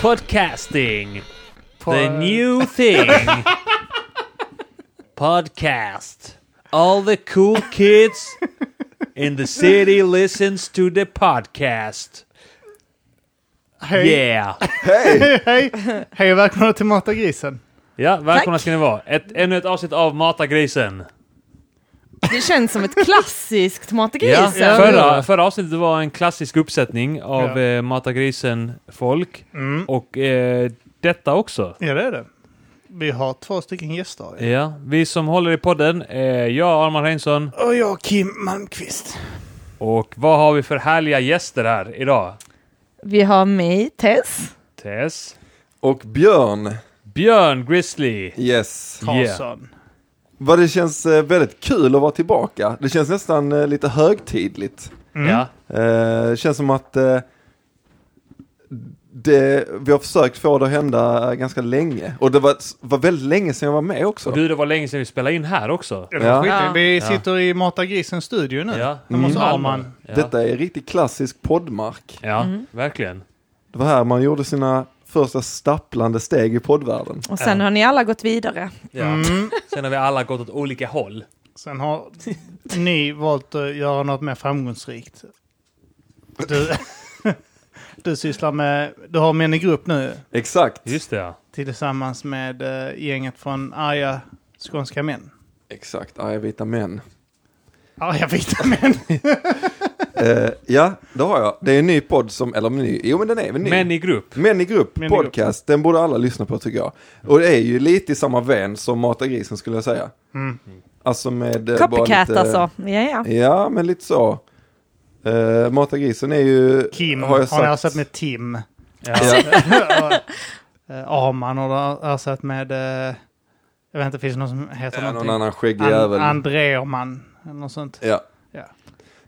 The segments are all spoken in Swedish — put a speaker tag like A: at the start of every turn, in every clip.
A: Podcasting. The new thing. Podcast. All the cool kids in the city listens to the podcast.
B: Hej,
A: Yeah.
B: hej, hej och välkomna till Matagrisen.
A: Ja, välkomna ska ni vara. Ett, ännu ett avsnitt av Mata grisen.
C: Det känns som ett klassiskt
A: Ja,
C: Matagrisen.
A: förra, förra avsnittet var en klassisk uppsättning av eh, Mata grisen-folk. Och eh, detta också.
B: Ja, det är det. Vi har två stycken gäster.
A: Ja, vi som håller i podden, eh, jag Arman Reinsson.
B: Och jag Kim Malmqvist.
A: Och vad har vi för härliga gäster här idag?
C: Vi har mig, Tess.
A: Tess.
D: Och Björn,
A: Björn Grizzly.
D: yes.
B: Karlsson.
D: Vad det känns eh, väldigt kul att vara tillbaka. Det känns nästan eh, lite högtidligt.
A: Ja.
D: Eh, Det känns som att eh, det, vi har försökt få det att hända ganska länge. Och det var, var väldigt länge sedan jag var med också.
A: Du, det var länge sedan vi spelade in här också.
B: Det var
D: Ja.
B: skitlänge. Vi
A: Ja.
B: sitter i Matagrisens studio nu.
A: Ja.
B: Hemma hos
A: Mm.
B: Arman.
A: Ja,
D: Detta är riktigt klassisk poddmark.
A: ja verkligen.
D: Det var här man gjorde sina första stapplande steg i poddvärlden.
C: Och sen har ni alla gått vidare.
A: Ja. Sen har vi alla gått åt olika håll.
B: Sen har ni valt att göra något mer framgångsrikt. Du, du sysslar med, du har med en grupp nu
D: Exakt.
A: Just det, ja.
B: tillsammans med eh, gänget från Arga Skånska Män.
D: Exakt, arga vita män.
B: Arga vita män.
D: Eh, ja, det har jag. Det är en ny podd som, eller ny, jo men den är väl ny.
A: Män i grupp.
D: Män i grupp
B: Män i grupp.
D: podcast, den borde alla lyssna på tycker jag. Och det är ju lite i samma vän som Mata grisen skulle jag säga.
B: Mm.
D: Alltså med... eh, bara
C: Copycat
D: lite,
C: alltså. Ja, ja.
D: Ja, men lite så. Uh, Mata grisen är ju...
B: Kim
D: har
B: har,
D: jag
B: ni
D: sagt.
B: ersatt med Tim. Alltså,
A: Ja.
B: Eh, Arman har du ersatt med... eh, Jag vet inte, finns det någon som heter
D: Ja, någon
B: någonting?
D: annan skäggig
B: An-
D: jävel.
B: Andreorman, eller något sånt.
D: ja.
B: Ja.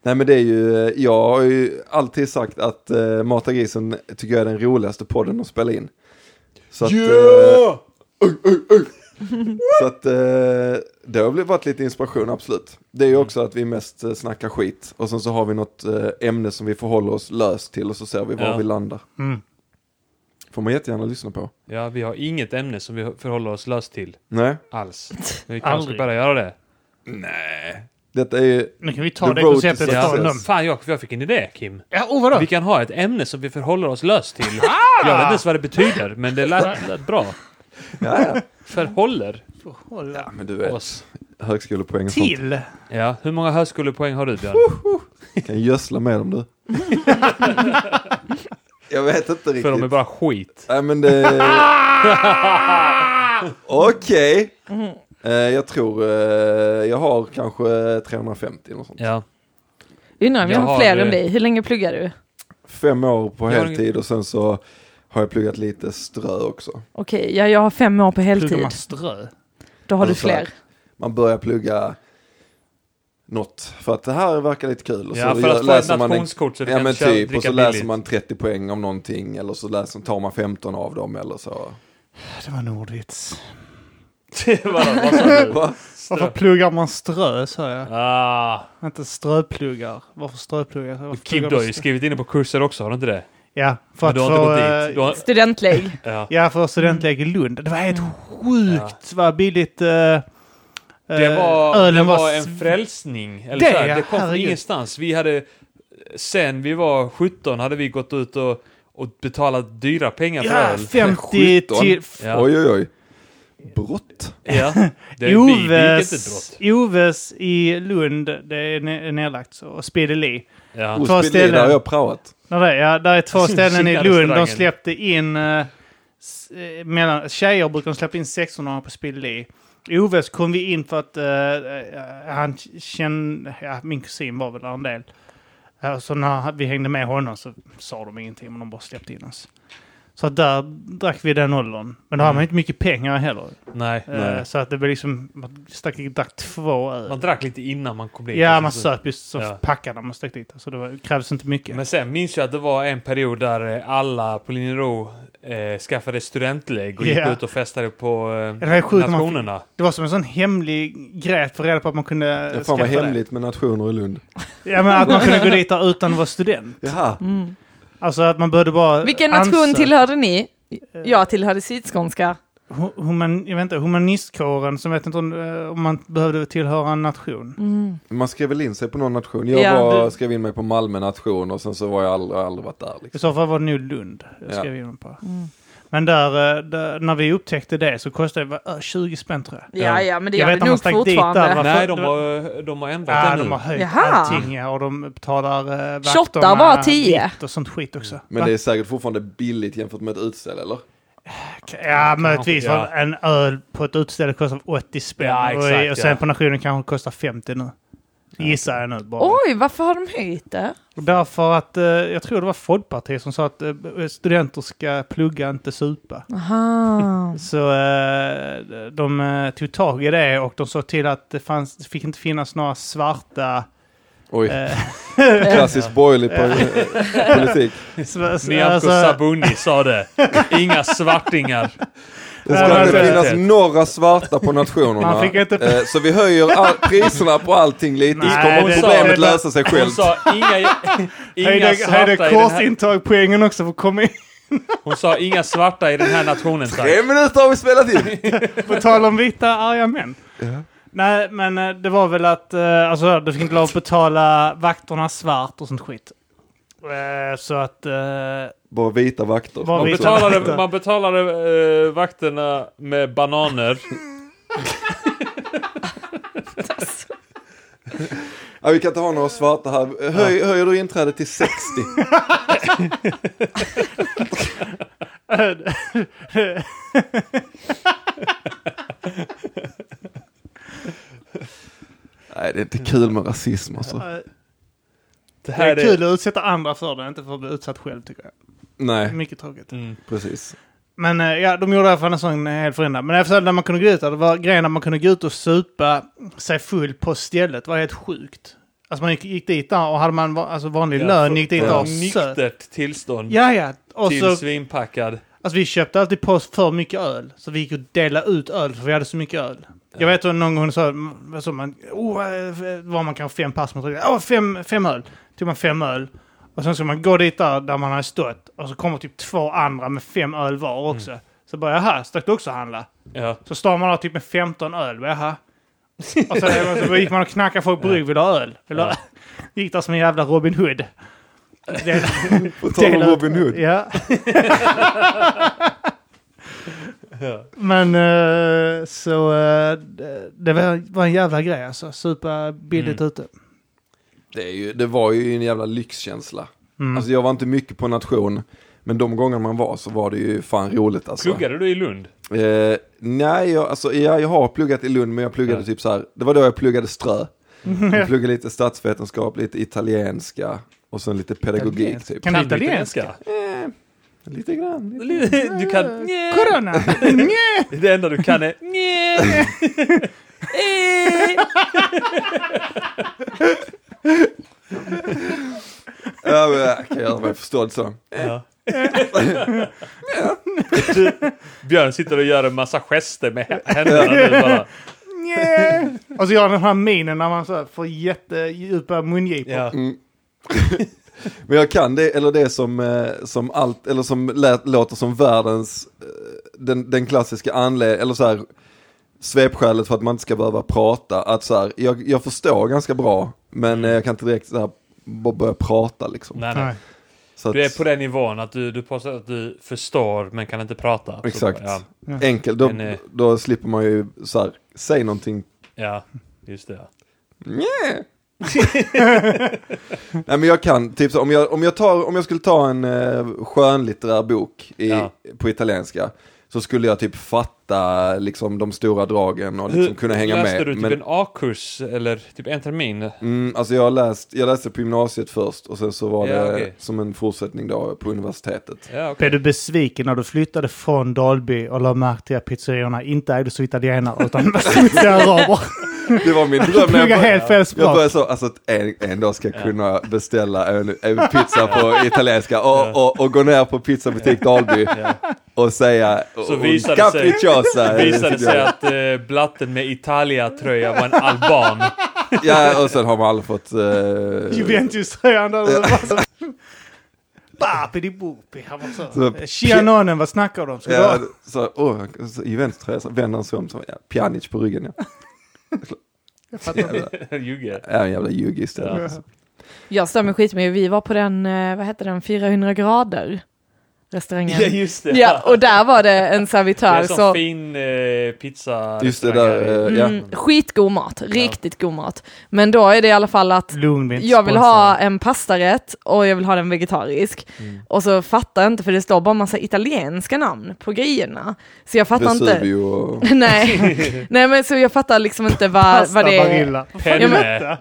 D: Nej men det är ju, eh, jag har ju alltid sagt att uh, Mata grisen tycker jag är den roligaste podden att spela in. Så att... eh, Så att eh, det har blivit- varit lite inspiration, absolut. Det är ju
A: Mm.
D: också att vi mest eh, snackar skit och sen så har vi något eh, ämne som vi förhåller oss löst till och så ser vi var
A: Ja.
D: vi landar.
B: Mm.
D: Får man jättegärna lyssna på.
A: ja, vi har inget ämne som vi förhåller oss löst till
D: Nej,
A: alls. Men vi kanske
B: Aldrig.
A: ska börja göra det.
D: detta är ju,
B: Nu kan vi ta
D: The
B: det
D: road to
B: konceptet
D: success.
B: ifrån dem.
A: Fan, jag, jag fick en idé, Kim.
B: Ja, oh, vadå?
A: Vi kan ha ett ämne som vi förhåller oss löst till. Jag vet inte ens vad det betyder, men det lät, lät bra.
D: ja, ja.
A: Förhåller
B: Hålla.
D: men du vet,
A: oss.
D: högskolepoäng och sånt.
B: Till!
A: Ja, hur många högskolepoäng har du, Björn?
D: Du kan gödsla med dem du. jag vet inte
A: För de är
D: riktigt.
A: bara skit.
D: Nej men det... Okej.
A: Mm.
D: Eh, jag tror eh, jag har kanske 350 eller något sånt.
A: Ja.
C: Undrar om jag
A: Jag
C: har
A: har,
C: fler
A: eh,
C: än dig. Hur länge pluggar du?
D: fem år på
A: Jag har
D: heltid och sen så har jag pluggat lite strö också.
C: Okej, ja, jag har fem år på
B: Pluggar
C: heltid.
B: man strö?
C: Då har du
D: Alltså,
C: fler.
D: Man börjar plugga något för att det här verkar lite kul. Och
A: Ja,
D: så
A: för
D: gör-
A: att få
D: läser
A: ett
D: man en-
A: nationskort så du
D: Ja
A: kan
D: men
A: köra-
D: typ,
A: dricka
D: och så
A: billigt.
D: läser man 30 poäng om någonting eller så läser, tar man 15 av dem eller så.
B: Det var en ordvits.
A: Vad- vad sa du?
D: Va?
B: Varför pluggar man strö, sa jag.
A: Ah,
B: Inte ströpluggar. Varför ströpluggar? Varför
A: Kim,
B: pluggar
A: du har
B: man
A: ju
B: strö?
A: skrivit inne på kurser också, har du inte det?
B: Ja, för
A: Men
B: att
A: du har inte
B: få,
A: gått
B: eh,
A: dit. Du har,
C: Studentlägg.
A: ja.
B: Ja, för studentläge i Lund. Det var helt sjukt vad billigt eh,
A: Det
B: eh,
A: var, det var
B: sv-
A: en frälsning. Eller
B: Det,
A: så här,
B: ja,
A: det kom från
B: herregud.
A: ingenstans. Vi hade, sen vi var 17 hade vi gått ut och, och betalat dyra pengar för
B: ja,
A: öl.
B: 50
D: 17.
B: till...
A: Ja.
D: Oj oj oj. Brott.
A: Ja. Det, vi, vi gick inte
B: Oves,
A: brott.
B: Oves i Lund, det är ne- nedlagt. så, Och Speedy Lee.
A: Ja.
B: Två
D: Osby
B: ställen.
D: där har jag praoat.
B: Där är, ja, där är två ställen i Lund.
A: Kinarestaurangen.
B: De släppte in... eh, s- eh, mellan, tjejer brukar de släppa in 16 på Speedy Lee. I Oves kom vi in för att eh, eh, han kände... Ja, min kusin var väl där en del. Eh, Så när vi hängde med honom så sa de ingenting, men de bara släppte in oss. Så att där drack vi den åldern. Men då hade man inte mycket pengar heller.
A: Mm. Nej.
B: Eh, Så att det var liksom, man stack drack två öl.
A: Man drack lite innan man kom dit. alltså.
B: Ja,
A: Och
B: man
A: så-
B: söp just som
A: Ja.
B: packar när man stack dit. Så det var, krävdes inte mycket.
A: Men sen minns jag att det var en period där eh, alla på Linjero eh, skaffade studentlägg och
B: Ja.
A: gick ut och festade på
B: det
A: eh,
B: var sjukt. om Man,
A: nationerna.
B: det var som en sån hemlig grej att få reda på att man kunde
D: Det fan
B: skaffa
D: vad hemligt med nationer i Lund.
B: Det. Ja, men att man kunde gå dit där utan att vara student.
D: Jaha,
B: Alltså att man behövde bara
C: Mm. Vilken
B: ansöka.
C: nation tillhörde ni? Jag tillhörde sydskånska.
B: hu- Human, jag vet inte, humanistkåren som vet inte om, eh, om man behövde tillhöra en nation.
C: Mm.
D: Man skrev väl in sig på någon nation. Jag
C: Ja,
D: var,
C: du-
D: skrev in mig på Malmö nation och sen så var jag aldrig, aldrig varit där.
B: I
D: Liksom.
B: så fall var det nog Lund. Jag
D: Ja.
B: skrev in mig på.
C: Mm.
B: Men där, eh, där, när vi upptäckte det så kostade det va, ö, 20 spänn tror jag.
C: Ja, ja, men det
B: Jag
C: gör
B: vet
C: det
B: att man
C: nog
B: stack dit där,
C: fortfarande.
B: va?
A: Nej,
B: varför-
A: de har, de har ändrat
B: Ja,
A: det nu.
B: de har höjt
C: Jaha.
B: allting ja, och de betalar eh, vakterna
C: 28 var 10.
B: vitt och sånt skit också.
D: Men
B: Va?
D: det är säkert fortfarande billigt jämfört med ett utställ eller?
B: Ja, möjligtvis.
A: Kanske,
B: för En öl på ett utställe kostar 80 spänn.
A: Ja,
B: och, i-
A: exakt,
B: och sen
A: ja.
B: på nationen kanske det kostar 50 nu. Gissar jag nu bara.
C: Oj, varför har de höjt det?
B: Därför att eh, jag tror det var Folkpartiet som sa att eh, studenter ska plugga, inte supa.
C: Aha.
B: Så eh, de eh, tog tag i det och de såg till att det, fanns, det fick inte finnas några svarta...
D: Oj,
B: Eh,
D: klassisk borgerlig po- politik.
B: sv-
A: Nyamko
B: alltså,
A: Sabuni sa det. Inga svartingar.
D: Det
B: Ja,
D: ska inte
B: men-
D: finnas några svarta på nationerna.
B: Man fick inte-
D: Eh, Så vi höjer all, priserna på allting lite så
B: Nej,
D: kommer
A: det-
D: problemet
B: det-
D: lösa sig
A: Hon
D: självt.
A: sa inga, inga
B: höjde, höjde
A: svarta i den här,
B: kortintagpoängen också för att komma in.
A: Hon sa inga svarta i den här nationen. tack.
D: Tre minuter har vi spelat in!
B: På tal om vita arga män. Nej, men eh, det var väl att eh, alltså, du fick inte lov att betala vakterna svart och sånt skit. Eh, Så att... eh,
D: Bara vita vakter.
B: Bara
A: Man
B: vita.
A: betalade, man betalade eh, vakterna med bananer.
D: Ja, vi kan inte ha några svarta här. Höj, Höjer du inträdet till 60? Nej, det är inte kul med rasism alltså.
A: Det
B: Det
A: här
B: är
A: är
B: kul att utsätta andra för det, inte för att bli utsatt själv tycker jag.
D: Nej,
B: Mycket tråkigt.
A: Mm.
D: precis.
B: Men eh, ja, de gjorde i alla fall en sån eh, helt förändrad. Men efter när man kunde gå ut där, det var grejen när man kunde gå ut och supa sig full på stället. Det var helt sjukt. Alltså man gick, gick dit där och hade man va- alltså, vanlig
A: Ja,
B: lön
A: för-
B: gick dit
A: från
B: där och söp.
A: Nyktert tillstånd
B: Ja, ja. Och
A: till
B: så,
A: svinpackad.
B: alltså, vi köpte alltid på oss för mycket öl. Så vi gick och delade ut öl för vi hade så mycket öl. Jag vet att någon gång så, så man, oh, eh, var man kanske fem pass, man tog, oh, fem, fem öl. Tog man fem öl. Och sen ska man gå dit där, där man har stått och så kommer typ två andra med fem öl var också. Så bara, jaha, stack du också och handla?
A: Ja.
B: Så står man där typ med 15 öl. Bara, Jaha. Och så, så gick man och knackade folk på rygg. Vill du ha öl? Vill du ha? Gick där som en jävla Robin Hood. Det,
D: På tal om
B: Delar-
D: Robin Hood.
B: ja. Men eh, så eh, det- det var- var en jävla grej alltså. Supa billigt
A: Mm.
B: ute.
D: Det, är ju, det var ju en jävla lyxkänsla.
B: Mm.
D: Alltså jag var inte mycket på nation, men de gånger man var så var det ju fan roligt alltså.
A: Pluggade du i Lund?
D: Eh, nej, jag, alltså, ja, jag har pluggat i Lund, men jag pluggade
A: Ja. Mm.
D: typ så här. Det var då jag pluggade strö. Jag pluggade lite statsvetenskap, lite italienska och sen lite pedagogik typ.
B: Kan du italienska?
D: Eh, lite grann. Eh. Lite.
A: Du kan... Nje.
B: Corona!
A: Det enda du kan är... Nje.
C: Eh.
D: Ja, men jag kan göra mig förstådd så.
A: Ja.
D: Eh.
A: Du, Björn sitter och gör en massa gester med händerna nu bara.
B: Nje. Och så gör han Alltså, den här minen när man så här får jättedjupa mungipor.
A: Ja.
D: Mm. Men jag kan det, eller det som, eh, som allt, eller som lät, låter som världens, eh, den, den klassiska anledningen, eller så här, svepskälet för att man inte ska behöva prata, att så här, jag, jag förstår ganska bra, men eh, jag kan inte direkt så här, bara börja prata liksom.
A: Nej, nej.
B: Nej.
D: Så att,
A: Du är på den nivån att du, du påstår att du förstår men kan inte prata. Så-
D: Exakt.
A: Alltså, Ja,
D: Enkelt, då,
A: Men, eh,
D: då slipper man ju så här, säg någonting
A: ja just det. ja.
D: Nja. Nej men jag kan, typ så, om jag, om jag, tar, om jag skulle ta en eh, skönlitterär bok i,
A: Ja.
D: på italienska så skulle jag typ fatta liksom de stora dragen och liksom kunna hänga
A: läste
D: med.
A: du typ
D: men,
A: en A-kurs eller typ en termin?
D: mm, alltså jag, har läst, jag läste på gymnasiet först och sen så var
A: Ja,
D: det
A: okej.
D: som en fortsättning då på universitetet.
A: Ja, okej.
B: Blev du besviken när du flyttade från Dalby och lade märke till att pizzeriorna inte ägdes av italienare utan var smutsiga araber?
D: Det var min dröm. när jag
B: Plugga
D: började-
B: helt fel
D: Jag
B: språk.
D: började så, alltså att en, en dag ska jag kunna beställa en, en pizza på italienska och, och, och gå ner på pizzabutik Dalby och säga
A: Så
D: och-
A: visade det sig-
D: capricciosa.
A: Det visade sig att eh, blatten med Italia-tröja var en alban.
D: Ja, och sen har man aldrig fått... eh,
B: Juventus-tröjan där. Babidibopi. Han var så...
C: Eh,
D: Så-
B: Shianonen, vad snackar de? Ska du ha?
D: Ja, så, åh, så, I vänster så vänder han sig om, så, ja, Pjanic på ryggen ja.
B: Jag fattar inte.
D: Jävla,
A: Ljuger.
D: ja, jävla ljug istället.
A: Ja.
C: Jag stör mig skit med vi var på den, eh, vad heter den, 400 grader restaurangen.
A: Ja, just det.
C: Ja, och där var det en
A: det
C: servitör.
A: är sån
C: Så,
A: fin eh, pizza.
D: Just det där, eh, ja.
C: mm, skitgod mat, riktigt god mat. Men då är det i alla fall att
B: Lugn, vi är inte
C: jag vill
B: sponsrade.
C: ha en pastarätt och jag vill ha den vegetarisk. Och så fattar jag inte, för det står bara massa italienska namn på grejerna. Så jag fattar inte.
D: Vesuvio och...
C: Nej. Nej, men så jag fattar liksom inte vad,
B: Pasta
C: vad det är.
B: Barilla.
C: Ja, men-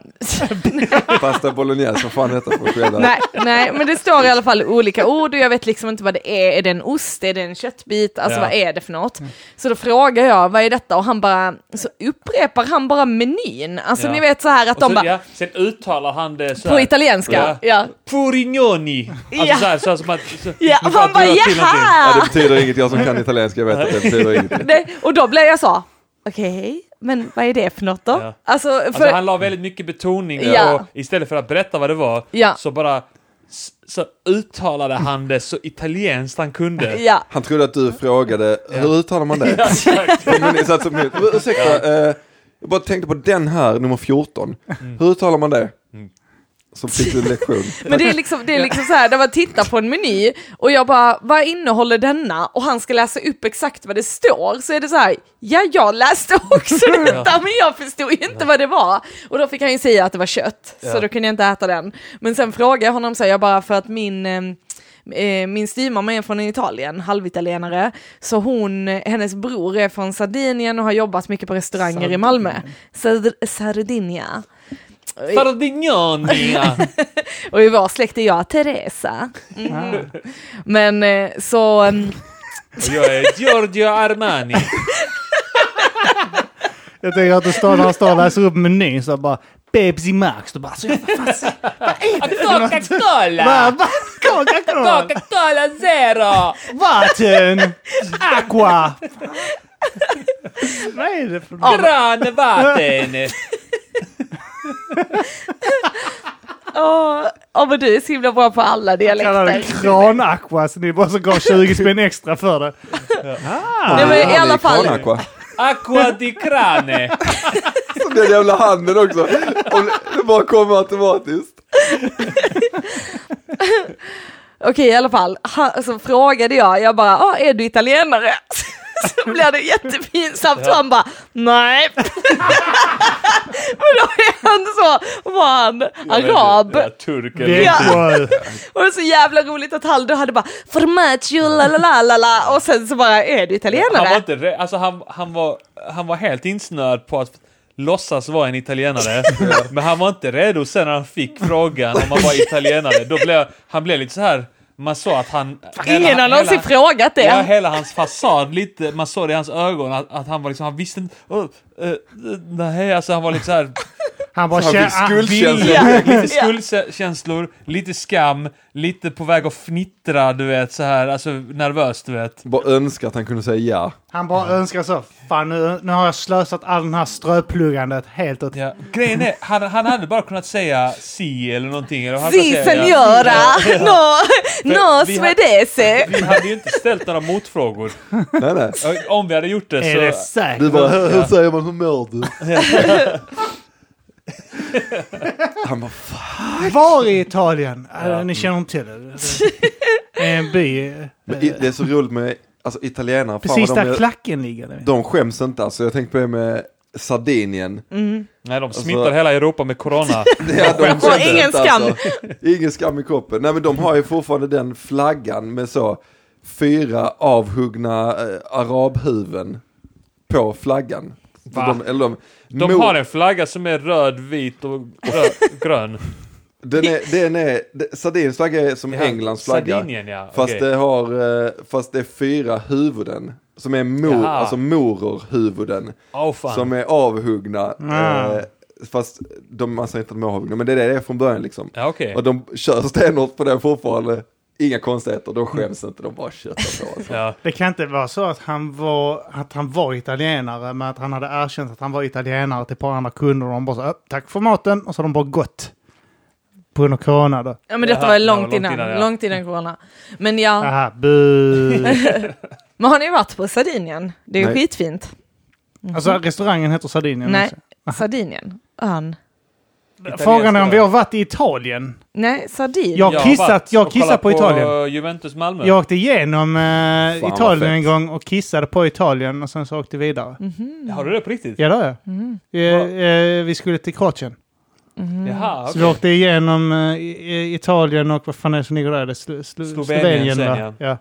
A: Penne.
D: Pasta bolognese, vad fan heter det för skeda?
C: Nej, nej, men det står i alla fall olika ord och jag vet liksom inte vad det är. Är det en ost? Är det en köttbit? Alltså
A: Ja. Mm.
C: vad är det för något? Så då frågar jag, vad är detta? Och han bara, så upprepar han bara menyn. Alltså
A: Ja.
C: ni vet så här att
A: Och så,
C: de bara,
A: ja, sen uttalar han det så
C: på
A: här.
C: italienska. Ja.
A: Purignoni. Alltså
C: Ja.
A: så här, så här som att... Så,
C: Ja,
A: som
C: han
A: att
C: bara,
A: du har till någonting.
D: Ja, det
C: jaha!
D: betyder inget, jag som kan italienska vet att det betyder inget.
C: Nej, Och då blev jag så, okej, men vad är det för något då?
A: Ja.
C: Alltså, för,
A: Alltså han la väldigt mycket betoning
C: Ja.
A: och istället för att berätta vad det var
C: Ja.
A: så bara s- så uttalade han det så italienskt han kunde.
C: ja.
D: Han trodde att du frågade, hur uttalar man det? Men jag satt som helt, ursäkta, eh, jag bara tänkte på den här, nummer 14. Hur uttalar man det? Så fick du en lektion.
C: Men det är liksom, det är liksom så här, när man tittar på en meny och jag bara, vad innehåller denna? Och han ska läsa upp exakt vad det står, så är det så här, ja, jag läste också detta, men jag förstod ju inte vad det var. Och då fick han ju säga att det var kött, så
A: Ja.
C: då kunde jag inte äta den. Men sen frågade jag honom, så här, jag bara, för att min ehm, eh, min styvmamma är från Italien, halvitalienare, så hon, eh, hennes bror är från Sardinien och har jobbat mycket på restauranger i Malmö. Sard- Sardinia.
A: Sardignoni! ja.
C: Och i vår släkt är jag Teresa.
B: Ah.
A: Mm.
C: Men eh, så, mm,
A: Och jag är Giorgio Armani.
B: Jag tänker att du står där och står och läser upp menyn så bara Pepsi Max. Du bara så jag vad fan säger-
A: Coca-Cola!
B: vad- vad- Coca-Cola,
A: Coca-Cola Zero!
B: vatten, aqua. Vad är det för något?
A: Granvatten!
C: åh, åh men du är så himla bra på
B: Kallar
C: alla
B: det
C: dialekter.
B: kran-aqua så ni bara så gav 20 spänn extra för det.
C: Nej, men i
D: Han är
C: alla fall,
D: Kranakva.
A: Aqua di crane!
D: Så Den jävla handen också. Om det bara kommer automatiskt.
C: okej i alla fall, ha, så frågade jag, jag bara, ah, är du italienare? så blev det jättepinsamt och han bara, nej. men då är han så, var han arab?
A: Ja, turk eller...
C: Ja.
B: Växjö.
C: Och det är så jävla roligt att han då hade bara, formaggio la la la la la och sen så bara, är du
A: Han var
C: italienare?
A: inte rä- alltså han, han, var, han var helt insnöad på att låtsas vara en italienare, men han var inte redo sen när han fick frågan om han var italienare. Då blev, han blev lite så här man såg att han...
C: Ingen har någonsin
A: hela,
C: frågat det.
A: ja, hela hans fasad lite, man såg det i hans ögon att, att han var liksom, han visste inte... Oh, eh, eh, nej, alltså han var lite så här
B: Han bara ah."
D: Han
B: känner...
D: fick skuldkänsla.
C: Ja.
A: Lite
C: Ja.
A: skuldkänslor, lite skam, lite på väg att fnittra, du vet, så här, alltså nervöst, du vet.
D: Bara önskar att han kunde säga ja.
B: Han bara önskar så. Fan nu, nu har jag slösat all den här ströpluggandet helt åt...
A: Ja. Grejen är, han, han hade bara kunnat säga si eller någonting. Eller han hade
C: Si
A: kunnat säga-
C: senora, no,
A: För
C: no
A: vi har-
C: svedese.
A: Vi hade ju inte ställt några motfrågor.
D: Nej, nej.
A: Om vi hade gjort det
B: Är det
A: så...
D: Du
B: säkert?
D: bara, hur säger man, hur mår du? Han bara, fan.
B: Var i Italien? Eh, Ni känner inte till det. Det är En by. eh,
D: Men i- Det är så roligt med, alltså italienare, fan
B: Precis
D: vad de
B: där
D: är
B: klacken ligger. det vet.
D: De skäms inte alltså, jag tänkte på det med Sardinien.
A: Nej, de smittar hela Europa med corona.
D: Ja, de skäms
C: Och ingen
D: inte,
C: skam.
D: Alltså. Ingen skam i kroppen. Nej men de har ju fortfarande den flaggan med så fyra avhuggna eh, arabhuven på flaggan.
A: Va?
D: De, eller de,
A: De
D: mot-
A: har en flagga som är röd, vit och rö- grön.
D: den är, den är, de- Sardiniens flagga är som
A: Ja,
D: Englands flagga.
A: Sardinien, ja.
D: Fast,
A: Okej.
D: det har, eh, fast det är fyra huvuden. Som är mor,
A: Jaha.
D: alltså mororhuvuden.
A: Åh fan.
D: Som är avhuggna.
B: Ah.
D: Eh, fast de, man säger inte att de är avhuggna, men det är det det är från början liksom.
A: Ja, okej.
D: Och de kör stenhårt på den fortfarande. Inga konstigheter, de skäms inte, de bara köttar på. Alltså.
A: Ja.
B: Det kan inte vara så att han var, att han var italienare, men att han hade erkänt att han var italienare till ett par andra kunder och de bara så, "Ö, tack för maten, och så har de bara gått. på grund av corona då?
C: Ja men detta
A: Jaha,
C: var
A: det
C: långt,
A: var långt
C: innan,
A: innan, ja.
C: långt innan corona. Men ja,
B: Aha, bu.
C: men har ni varit på Sardinien? Det är ju
D: Nej.
C: skitfint.
B: Alltså restaurangen heter Sardinien.
C: Mhm. Nej,
B: också.
C: Sardinien. Ön.
B: Frågan är om
A: Italienska.
B: vi har varit i Italien.
C: Nej, Sardinien.
B: Jag har kissat,
A: varit
B: jag har
A: och kollat
B: kissat på Italien.
A: Juventus Malmö.
B: Jag åkte igenom eh,
D: vad
B: Italien en
D: fett.
B: gång och kissade på Italien och sen så åkte vi vidare.
A: Har du det på riktigt?
B: Ja, det har jag. Eh, eh, vi skulle till Kroatien.
A: Jaha,
B: Mm. Så
A: okej.
B: vi åkte igenom eh, i- i- Italien och vad fan är det som ligger där? Det är Slo- Slo-
A: Slovenien
B: Slovenien
A: sen,
B: va?
A: ja.
B: Ja.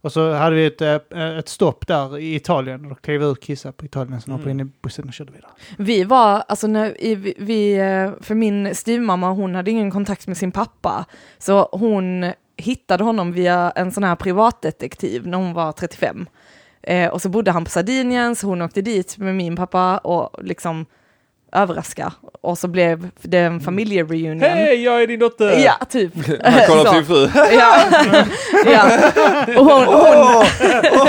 B: Och så hade vi ett, eh, ett stopp där i Italien och då klev vi ur, kissade på Italien, sen hoppade in i bussen och körde vidare.
C: Vi var, alltså när i- vi, vi, eh, för min styvmamma hon hade ingen kontakt med sin pappa, så hon hittade honom via en sån här privatdetektiv när hon var 35. Eh, och så bodde han på Sardinien, så hon åkte dit med min pappa och liksom överraska. Och så blev det en familjereunion.
A: Hej, jag är din dotter!
C: Ja, typ.
D: Han kollar
C: Så.
D: på sin fru.
C: ja. ja. Och hon, hon,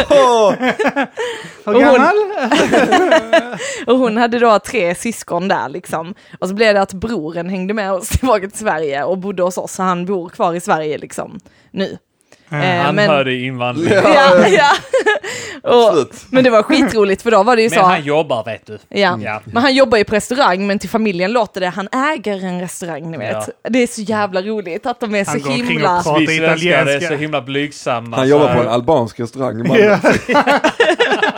B: Hur
C: Och hon-
B: gammal?
C: Och hon hade då tre syskon där liksom. Och så blev det att broren hängde med oss tillbaka till Sverige och bodde hos oss, så han bor kvar i Sverige liksom nu. Eh,
A: Anhörig invandring.
D: Ja.
C: Ja, ja. och,
D: Absolut.
C: men det var skitroligt för då var det ju
A: Men
C: så.
A: han jobbar vet du.
C: Ja.
A: Ja.
C: Men han jobbar ju på restaurang, men till familjen låter det, han äger en restaurang ni vet. Det är så jävla roligt att de är
B: Han
C: så
B: går omkring och
C: himla...
B: pratar.
A: Vi
B: Prata
A: svenskar är
B: italienska.
A: så himla blygsamma.
D: Han
A: så
D: jobbar
A: här,
D: på en albansk restaurang. i Malmö.
B: Ja.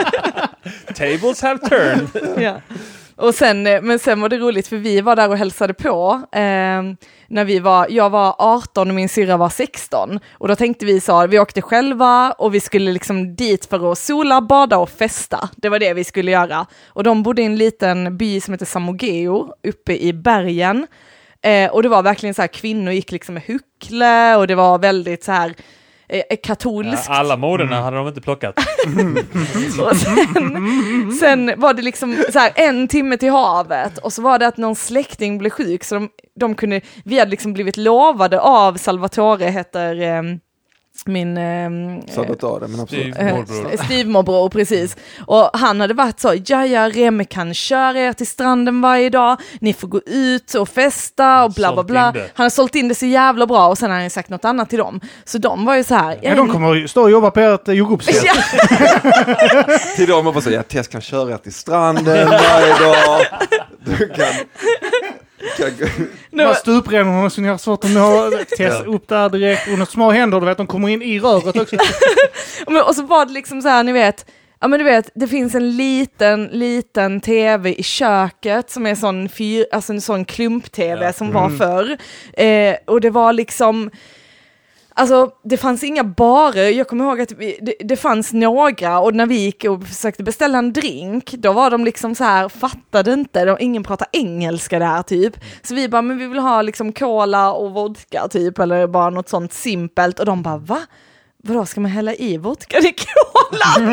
A: Tables have turned.
C: Ja. Och sen, eh, men sen var det roligt för vi var där och hälsade på. Eh, när vi var, jag var 18 och min syrra var 16. Och då tänkte vi så, här, vi åkte själva och vi skulle liksom dit för att sola, bada och festa. Det var det vi skulle göra. Och de bodde i en liten by som heter Samogeo uppe i bergen. Eh, och det var verkligen så här, kvinnor gick liksom med huckle och det var väldigt så här eh, katolskt.
A: Alla moderna hade de inte plockat.
C: Och sen, sen var det liksom så här en timme till havet och så var det att någon släkting blev sjuk så de, de kunde, vi hade liksom blivit lovade av Salvatore heter ehm, min ehm,
D: Salvatore, men absolut.
A: Det är ju
C: eh,
A: morbror.
C: styvmorbror, precis. Och han hade varit så, ja ja, Remi kan köra er till stranden varje dag, ni får gå ut och festa och bla bla
A: Sålt
C: bla.
A: in det.
C: Han har sålt in det så jävla bra och sen har han ju sagt något annat till dem. Så de var ju så här,
B: Ja, de kommer ju stå och jobba på ert eh, jordgubbsfält.
C: Ja.
D: Till dem man bara säger, ja, Tess kan köra er till stranden varje dag. Du kan... kan
B: De här stuprännorna som ni har svårt att nå. Tess upp där direkt. Under små händer, du vet, de kommer in i röret också.
C: Ja, men, och så var det liksom så här, ni vet, ja men du vet, det finns en liten, liten tv i köket som är sån fyr, alltså en sån klump-tv
A: Ja.
C: som var förr. Eh, och det var liksom, Alltså det fanns inga barer, jag kommer ihåg att vi, det, det fanns några och när vi gick och försökte beställa en drink, då var de liksom så här, fattade inte, de, ingen pratar engelska där typ. Så vi bara, men vi vill ha liksom cola och vodka typ, eller bara något sånt simpelt. Och de bara, va? Vadå, ska man hälla i vodka i cola? Man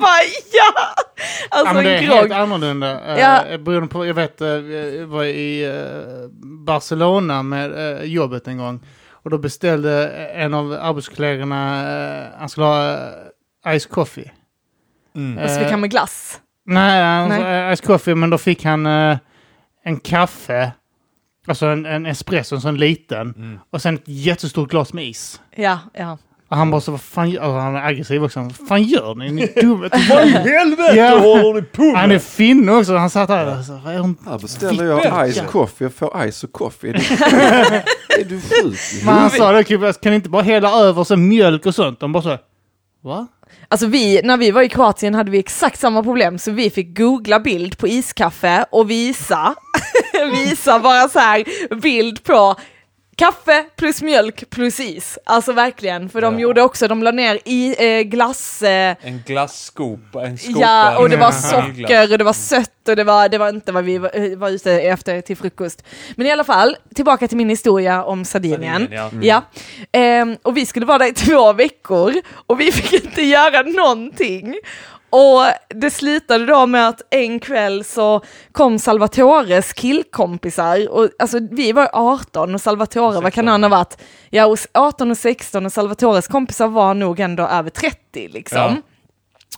C: bara, ja!
B: Ja,
C: Alltså
B: men det är
C: en
B: helt
C: grogg.
B: annorlunda. eh,
C: Ja.
B: Beroende på, jag vet, eh, jag var i eh, Barcelona med eh, jobbet en gång. Och då beställde en av arbetskollegorna, eh, han skulle ha eh, ice coffee.
A: Mm.
C: Och så fick
B: Eh,
C: han med glass.
B: Nej, han
C: Alltså, Nej.
B: sa ice coffee, men då fick han eh, en kaffe. Alltså en, en espresso, en sån liten.
A: Mm.
B: Och sen ett jättestort glas med is.
C: Ja, ja.
B: Och han bara så, vad fan gör... Och han är aggressiv också. Vad fan gör ni? Ni är dumma.
A: Vad i helvete
B: Ja.
A: håller ni på
B: Han är
A: med?
B: finne också. Han satt där och så, vad är de
D: Här beställer jag ice coffee, jag får ice och coffee. Är du, är du sjuk? i
B: Men han sa det, typ, jag kan inte bara hälla över så mjölk och sånt? De bara så, va?
C: Alltså vi, när vi var i Kroatien hade vi exakt samma problem, så vi fick googla bild på iskaffe och visa, visa bara så här bild på kaffe plus mjölk plus is. Alltså verkligen, för de
A: Ja.
C: gjorde också, de la ner i eh, glass, eh,
A: En glasskopa, en skopa.
C: ja, och det var
A: en glass.
C: socker och det var sött och det var, det var inte vad vi var, eh, var ute efter till frukost. Men i alla fall, tillbaka till min historia om Sardinien.
A: Sardinien, ja.
C: Ja, Ehm, och vi skulle vara där i två veckor och vi fick inte göra någonting. Och det slutade då med att en kväll så kom Salvatores killkompisar, och, alltså vi var 18 och Salvatore, vad kan han ha varit? Ja, och 18 och 16 och Salvatores kompisar var nog ändå över 30 liksom.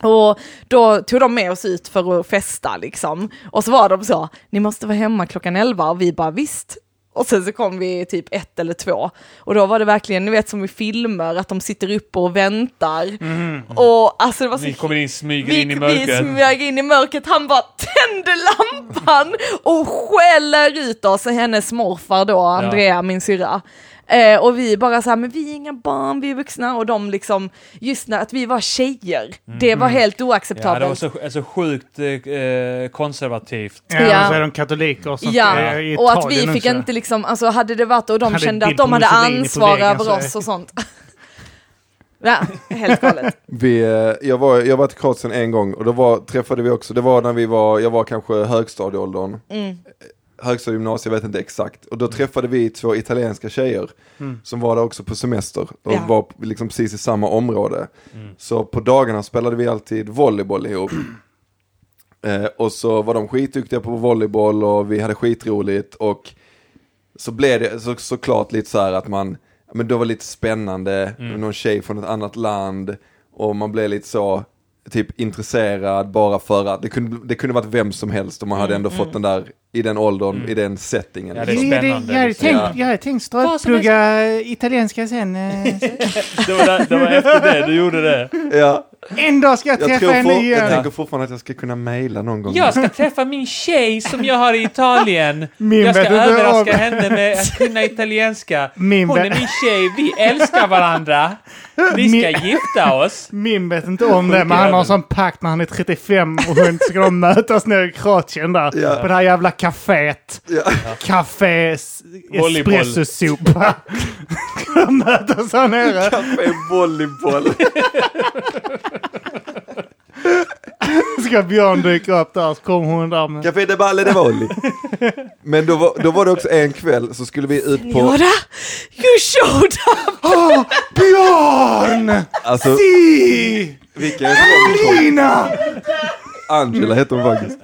A: Ja.
C: Och då tog de med oss ut för att festa liksom. Och så var de så, ni måste vara hemma klockan 11 och vi bara visst. Och sen så kom vi typ ett eller två. Och då var det verkligen, ni vet som i filmer, att de sitter uppe och väntar. Och alltså det var så
A: Mm. Ni kommer in, smyger
C: vi,
A: in i
C: vi
A: mörkret.
C: smög in i mörkret, han bara tände lampan och skäller ut oss, hennes morfar då, Andrea, min syrra. Eh, och vi bara så här, men vi är inga barn, vi är vuxna och de liksom, just när att vi var tjejer, det var helt
A: Mm. Ja, det var
C: oacceptabelt.
A: så, så sjukt eh, konservativt.
B: Ja,
C: Ja.
B: Och så är de katoliker och sånt
C: Ja,
B: i- i
C: och att
B: Italien
C: vi fick
B: också.
C: inte liksom, alltså hade det varit och de
B: Hade
C: kände att
B: bild
C: de
B: på
C: hade
B: Mussolini på
C: ansvar
B: väggen,
C: över
B: så-
C: oss och sånt. ja, helt galet.
D: Vi, eh, jag, var, jag var till Kroatien en gång och då var, träffade vi också, det var när vi var, jag var kanske högstadieåldern. Eh,
C: Mm.
D: högstadiegymnasiet, jag vet inte exakt. Och då träffade vi två italienska tjejer som var där också på semester och
C: Ja.
D: var liksom precis i samma område. Så på dagarna spelade vi alltid volleyboll ihop. eh, och så var de skitduktiga på volleyboll och vi hade skitroligt och så blev det så, såklart lite så här att man, ja, men det var lite spännande,
A: Mm.
D: någon tjej från ett annat land och man blev lite så typ intresserad bara för att det kunde, det kunde varit vem som helst och man hade ändå fått den där i den åldern, i den settingen.
A: Mm. Ja, det är
D: liksom.
B: Jo,
A: spännande,
B: jag hade
A: liksom.
B: tänkt, jag hade tänkt ströplugga italienska sen. eh, så-
A: Det var, där, det var efter det du gjorde det.
D: ja.
B: En dag ska jag,
D: Jag, tror
B: träffa en
D: for,
B: ny
D: jag
B: igen.
D: tänker fortfarande att jag ska kunna mejla någon gång.
A: Jag ska träffa min tjej som jag har i Italien.
B: Mm. Min
A: jag ska
B: vän, det där
A: överraska
B: var-
A: henne med att kunna italienska.
B: Min
A: Hon är
B: vän-
A: min tjej, vi älskar varandra. Vi ska gifta oss.
B: Min vet inte om det, men han har en sån pakt när han är 35 och hon ska de mötas nere i Kroatien där.
D: Ja.
B: På det här jävla kaféet. Café s-
A: Volleyboll.
B: espressosopa. de mötas här nere.
D: Kaffe volleyboll.
B: Ska Björn dyka upp där så kommer hon där med...
D: Café de Balle de Volley. Men då var, då var det också en kväll så skulle vi ut på...
C: Jodå, you showed up!
B: Åh, Ah, Björn!
D: Alltså,
B: Si!
D: vilken rom-com.
B: Lina!
D: Angela heter hon faktiskt.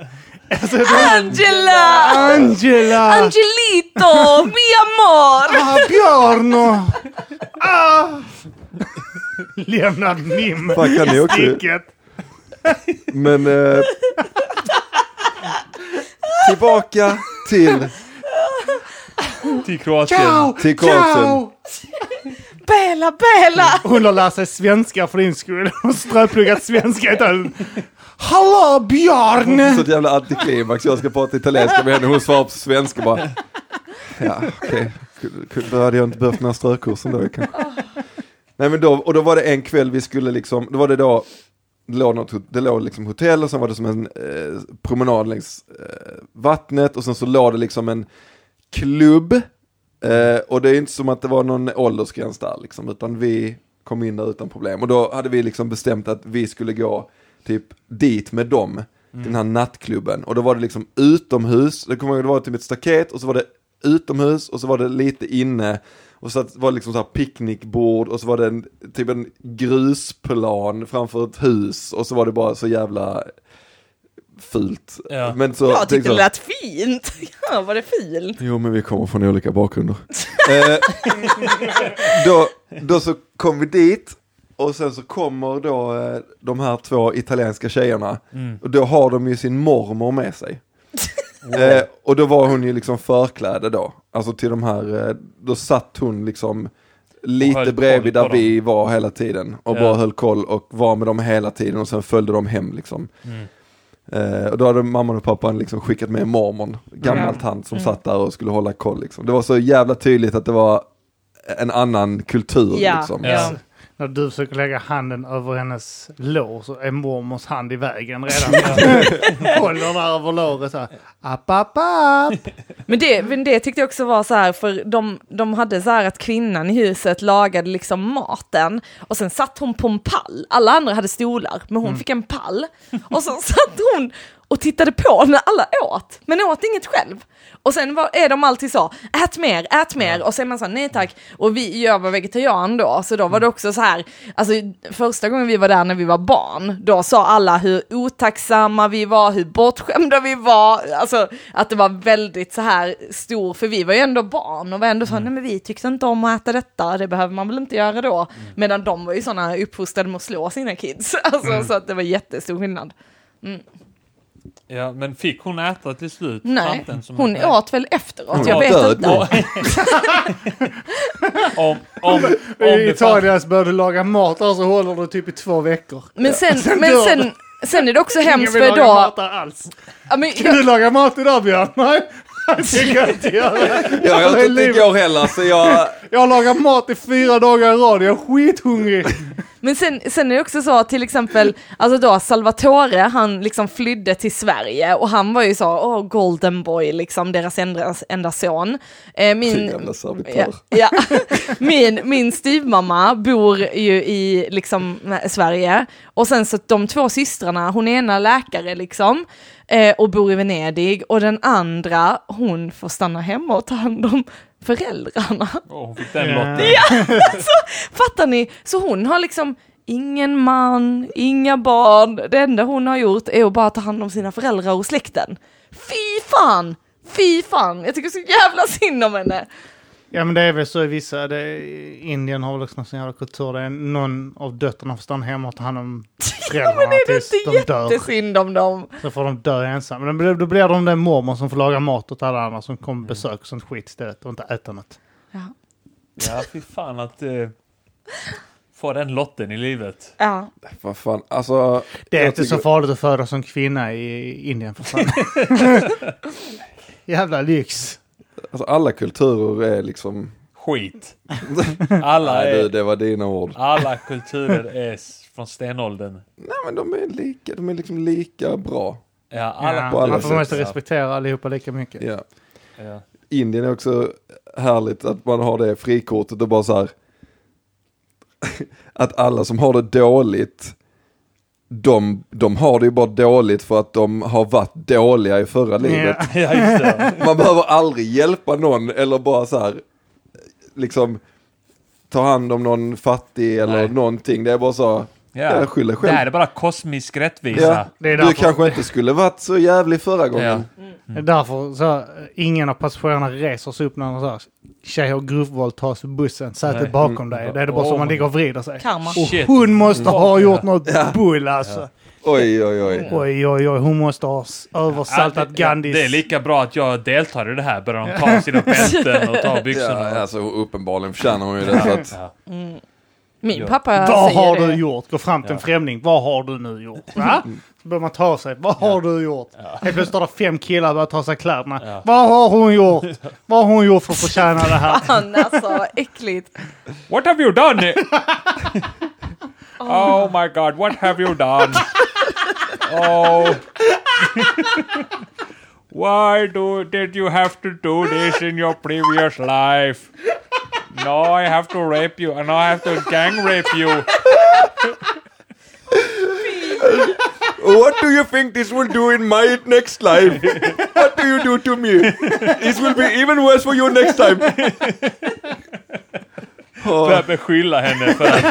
B: Alltså, det-
C: Angela! Ah.
B: Angela!
C: Angelito, mi amor!
B: Ah, Björn! och- Ah! Lämnad Mim
D: Fuck, kan ni
B: i
D: också-
B: sticket.
D: Men... Eh, tillbaka till...
A: Till Kroatien.
B: Ciao!
D: Till Kroatien.
B: Ciao!
C: Bella, bella!
B: Hon har lärt sig svenska för din skull. Hon har ströpluggat svenska utan... Hallå
D: Så
B: Björn!
D: ett jävla antiklimax, jag ska prata italienska med henne, hon svarar på svenska bara. Ja, okej. Okay. Då hade jag inte behövt den här strökursen då kanske. Nej men då, och då var det en kväll vi skulle liksom, då var det då, det låg, något, det låg liksom hotell och sen var det som en eh, promenad längs eh, vattnet och sen så låg det liksom en klubb. Eh, och det är inte som att det var någon åldersgräns där liksom, utan vi kom in där utan problem. Och då hade vi liksom bestämt att vi skulle gå typ dit med dem, till den här nattklubben. Och då var det liksom utomhus, det kommer jag ihåg, det var typ ett staket och så var det utomhus och så var det lite inne. Och så att- var det liksom så här picknickbord och så var det en, typ en grusplan framför ett hus och så var det bara så jävla fult.
A: Ja.
D: Men så,
C: Jag tyckte
D: liksom-
C: det lät fint. Ja, var det fint?
D: Jo, men vi kommer från olika bakgrunder. eh, då, då så kom vi dit och sen så kommer då eh, de här två italienska tjejerna
A: Mm.
D: och då har de ju sin mormor med sig. eh, och då var hon ju liksom förkläde då, alltså till de här, eh, då satt hon liksom
A: Och höll
D: lite
A: koll
D: bredvid
A: på
D: där
A: dem.
D: vi var hela tiden och
A: Ja.
D: bara höll koll och var med dem hela tiden och sen följde de hem liksom. Eh, och då hade mamman och pappan liksom skickat med mormon, gammal tant
C: Mm.
D: som satt där och skulle hålla koll. Liksom. Det var så jävla tydligt att det var en annan kultur.
C: Ja.
D: Liksom.
A: Ja.
B: När du försöker lägga handen över hennes lår så är mormors hand i vägen redan. Håller där över låret så här. App, app, app.
C: Men det, men det tyckte jag också var så här, för de, de hade så här att kvinnan i huset lagade liksom maten och sen satt hon på en pall. Alla andra hade stolar, men hon fick en pall. Och sen satt hon och tittade på när alla åt, men åt inget själv. Och sen var, är de alltid så, ät mer, ät mer, och så är man så här, nej tack. Och vi, jag var vegetarian då, så då var det också så här, alltså första gången vi var där när vi var barn, då sa alla hur otacksamma vi var, hur bortskämda vi var, alltså att det var väldigt så här stor, för vi var ju ändå barn och var ändå så, nej men vi tyckte inte om att äta detta, det behöver man väl inte göra då. Medan de var ju sådana uppfostrade med att slå sina kids, alltså så att det var jättestor skillnad.
A: Ja, men fick hon äta till slut?
C: Nej,
A: tanten som
C: hon åt väl efteråt.
D: Hon
C: jag
D: var
C: vet
D: död
C: inte.
D: då.
A: Och- om, om, om
B: I
A: det fanns-
B: Italien så börjar du laga mat och så håller du typ i två veckor.
C: Men sen, men
B: dör
C: sen, sen är det också
B: Ingen
C: hemskt
B: vill
C: för
B: laga
C: då...
B: mat där alls.
C: Ja, men,
B: Kan du laga mat idag Björn? Nej, det tänker jag inte göra.
D: Jag åt inte
B: livet. Mm.
D: igår heller så jag...
B: Jag har lagat mat i fyra dagar i rad, jag är skithungrig.
C: Men sen, sen är det också så att till exempel, alltså då Salvatore, han liksom flydde till Sverige och han var ju så, åh golden boy, liksom deras enda, enda son. Eh, min,
D: Jävla servitör.
C: ja, ja. min, min styvmamma bor ju i liksom Sverige och sen så att de två systrarna, hon är ena läkare liksom eh, och bor i Venedig och den andra, hon får stanna hemma och ta hand om föräldrarna.
A: Åh, hon fick den
B: Ja.
A: lotten.
C: Fattar ni? Så hon har liksom ingen man, inga barn. Det enda hon har gjort är att bara ta hand om sina föräldrar och släkten. Fy fan! Fy fan! Jag tycker så jävla synd om henne.
B: Ja men det är väl så i vissa, det, Indien har väl också någon sån jävla kultur där någon av döttrarna får stanna hemma och ta hand om
C: Ja, men
B: föräldrarna
C: är det
B: tills
C: inte
B: de dör.
C: jättesynd om dem?
B: Sen får de dö ensamma. Men då- då blir de den mormor som får laga mat åt alla andra som kommer besök och sånt skit istället och inte äta något.
C: Ja.
A: Ja, fy fan att eh, få den lotten i livet.
C: Ja.
D: Vad fan, alltså...
B: Det är
D: jag
B: inte så
D: tycker-
B: farligt att födas som kvinna i Indien för fan. Jävla lyx.
D: Alltså alla kulturer är liksom...
A: Skit. Alla,
D: Nej du,
A: är,
D: det var dina ord.
A: alla kulturer är s- från stenåldern.
D: Nej men de är lika, de är liksom lika bra.
A: Ja, alla
B: ja,
D: på alla
B: man
D: sätt.
B: får måste respektera allihopa lika mycket.
D: Ja.
A: Ja.
D: Indien är också härligt att man har det frikortet och bara så här. Att alla som har det dåligt, de, de har det ju bara dåligt för att de har varit dåliga i förra livet.
B: Ja.
A: ja, just det.
D: Man behöver aldrig hjälpa någon eller bara så här, liksom ta hand om någon fattig eller
A: Nej.
D: någonting. Det är bara så, ja,
A: Ja.
D: skyll dig
A: Det här
D: själv.
A: är bara kosmisk rättvisa.
D: Ja,
B: Det är
D: du
B: därför-
D: kanske inte skulle varit så jävlig förra gången.
A: Ja.
B: Det är Därför så här, ingen av passagerarna reser sig upp när de så här, tjej har grovvåldtas i bussen, sätet
A: Nej.
B: bakom dig. Det är det bara som man ligger och vrider sig.
C: Karma.
A: Shit.
B: Och hon måste ha gjort något bull alltså.
D: Oj, oj, oj.
B: Oj, oj, oj, hon måste ha s- översaltat
A: Ja, det-
B: Gandhis...
A: Det är lika bra att jag deltar i det här. Börjar de ta sina bälten och ta byxorna.
D: Ja, alltså uppenbarligen förtjänar hon ju det. Så att,
A: Ja.
C: Min
A: Ja.
C: pappa
B: Vad
C: säger
B: har
C: det.
B: du gjort? Gå fram till en
A: Ja.
B: främling. Vad har du nu gjort? Va? Så börjar man ta sig. Vad har du gjort? Helt plötsligt står det fem killar och börjar ta sig kläderna.
A: Ja.
B: Vad har hon gjort? Vad har hon gjort för att förtjäna det här?
C: Fan alltså, äckligt.
A: What have you done? oh my god, what have you done? Oh. Why do did you have to do this in your previous life? Now I have to rape you, and now I have to gang rape you.
D: What do you think this will do in my next life? What do you do to me? This will be even worse for you next time. Oh,
A: Börjar beskylla henne för att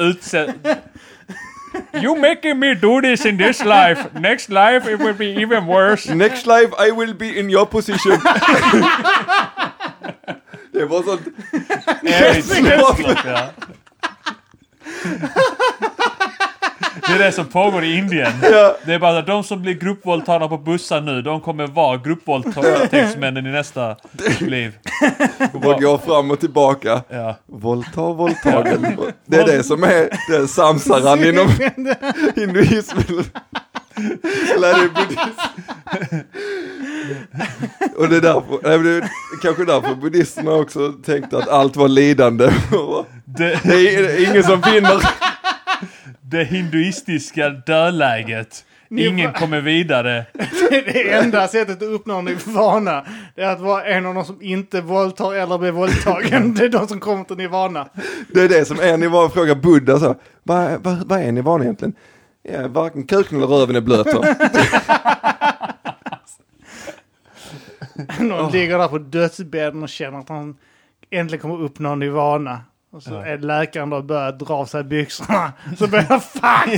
A: utsätta... You making me do this in this life. Next life it will be even worse.
D: Next life I will be in your position. Det var sånt.
A: Ja. Det är det som pågår i Indien.
D: Ja.
A: Det är bara att de som blir gruppvåldtagna på bussar nu, de kommer vara gruppvåldtäktsmännen i nästa liv.
D: Bara gå fram och tillbaka.
A: Ja.
D: Våldta, våldtagen. Det är det som är, det är samsaran inom hinduismen. Eller är det buddhism? Och det är därför, nej, men det är kanske därför buddhisterna också tänkte att allt var lidande.
A: Det,
D: Det är ingen som vinner.
A: det hinduistiska dödläget.
B: Ni-
A: Ingen kommer vidare.
B: Det enda sättet att uppnå en nirvana det är att vara en av de som inte våldtar eller blir våldtagen. Det är de som kommer till nirvana.
D: Det är det som är, ni var och frågar Buddha så. här, Vad vad- vad är ni van egentligen? Ja, varken kuken eller röven är blöt. så.
B: Någon ligger där på dödsbädden och känner att han äntligen kommer uppnå nirvana. Och så är läkaren då och börjar dra av sig byxorna. Så börjar han, fan!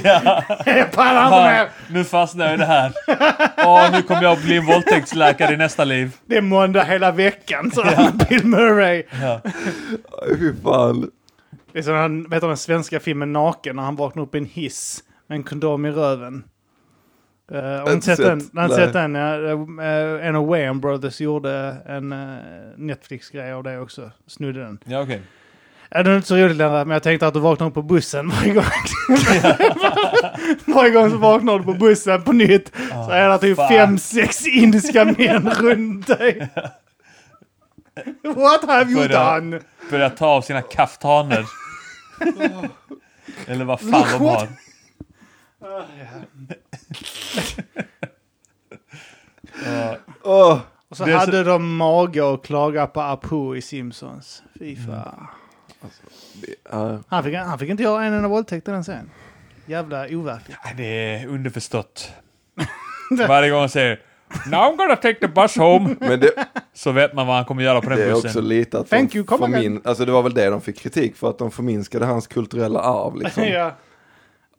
B: Jag pallar inte
A: Fan,
B: mer!
A: nu fastnar jag i det här. Åh, nu kommer jag bli en våldtäktsläkare i nästa liv.
B: Det är måndag hela veckan, så Bill Murray.
D: Fy fan.
B: Det är som han, vet du den svenska filmen Naken, när han vaknar upp i en hiss med en kondom i röven. Eh, har ni
D: Inte
B: sett
D: sett,
B: den? Har ni
D: nej.
B: sett den? Ja, eh, en av Wayne Brothers gjorde en eh, Netflix-grej av det också. Snudde den.
A: Ja, okej.
B: Ja, det är inte så roligt längre, men jag tänkte att du vaknar upp på bussen varje gång. varje gång så vaknar du på bussen på nytt. Så är det typ
A: fan.
B: fem, sex indiska män runt dig. What have you
A: Börjar-
B: done?
A: Börjar ta av sina kaftaner. Eller vad fan de har. Ja,
D: Åh,
B: Och så
A: Det är så-
B: hade de mage att klaga på Apu i Simpsons. Fy fan.
D: ja.
B: Han, fick, han fick inte göra en enda våldtäkt den sen. Jävla overkligt.
A: det är underförstått. Varje gång han säger Now I'm gonna take the bus home.
D: Men det,
A: Så vet man vad han kommer göra på den
D: det är
A: bussen.
D: också lite att
B: Thank
D: de
B: you, come
D: förmin- alltså det var väl det de fick kritik för, att de förminskade hans kulturella arv. Liksom.
B: ja.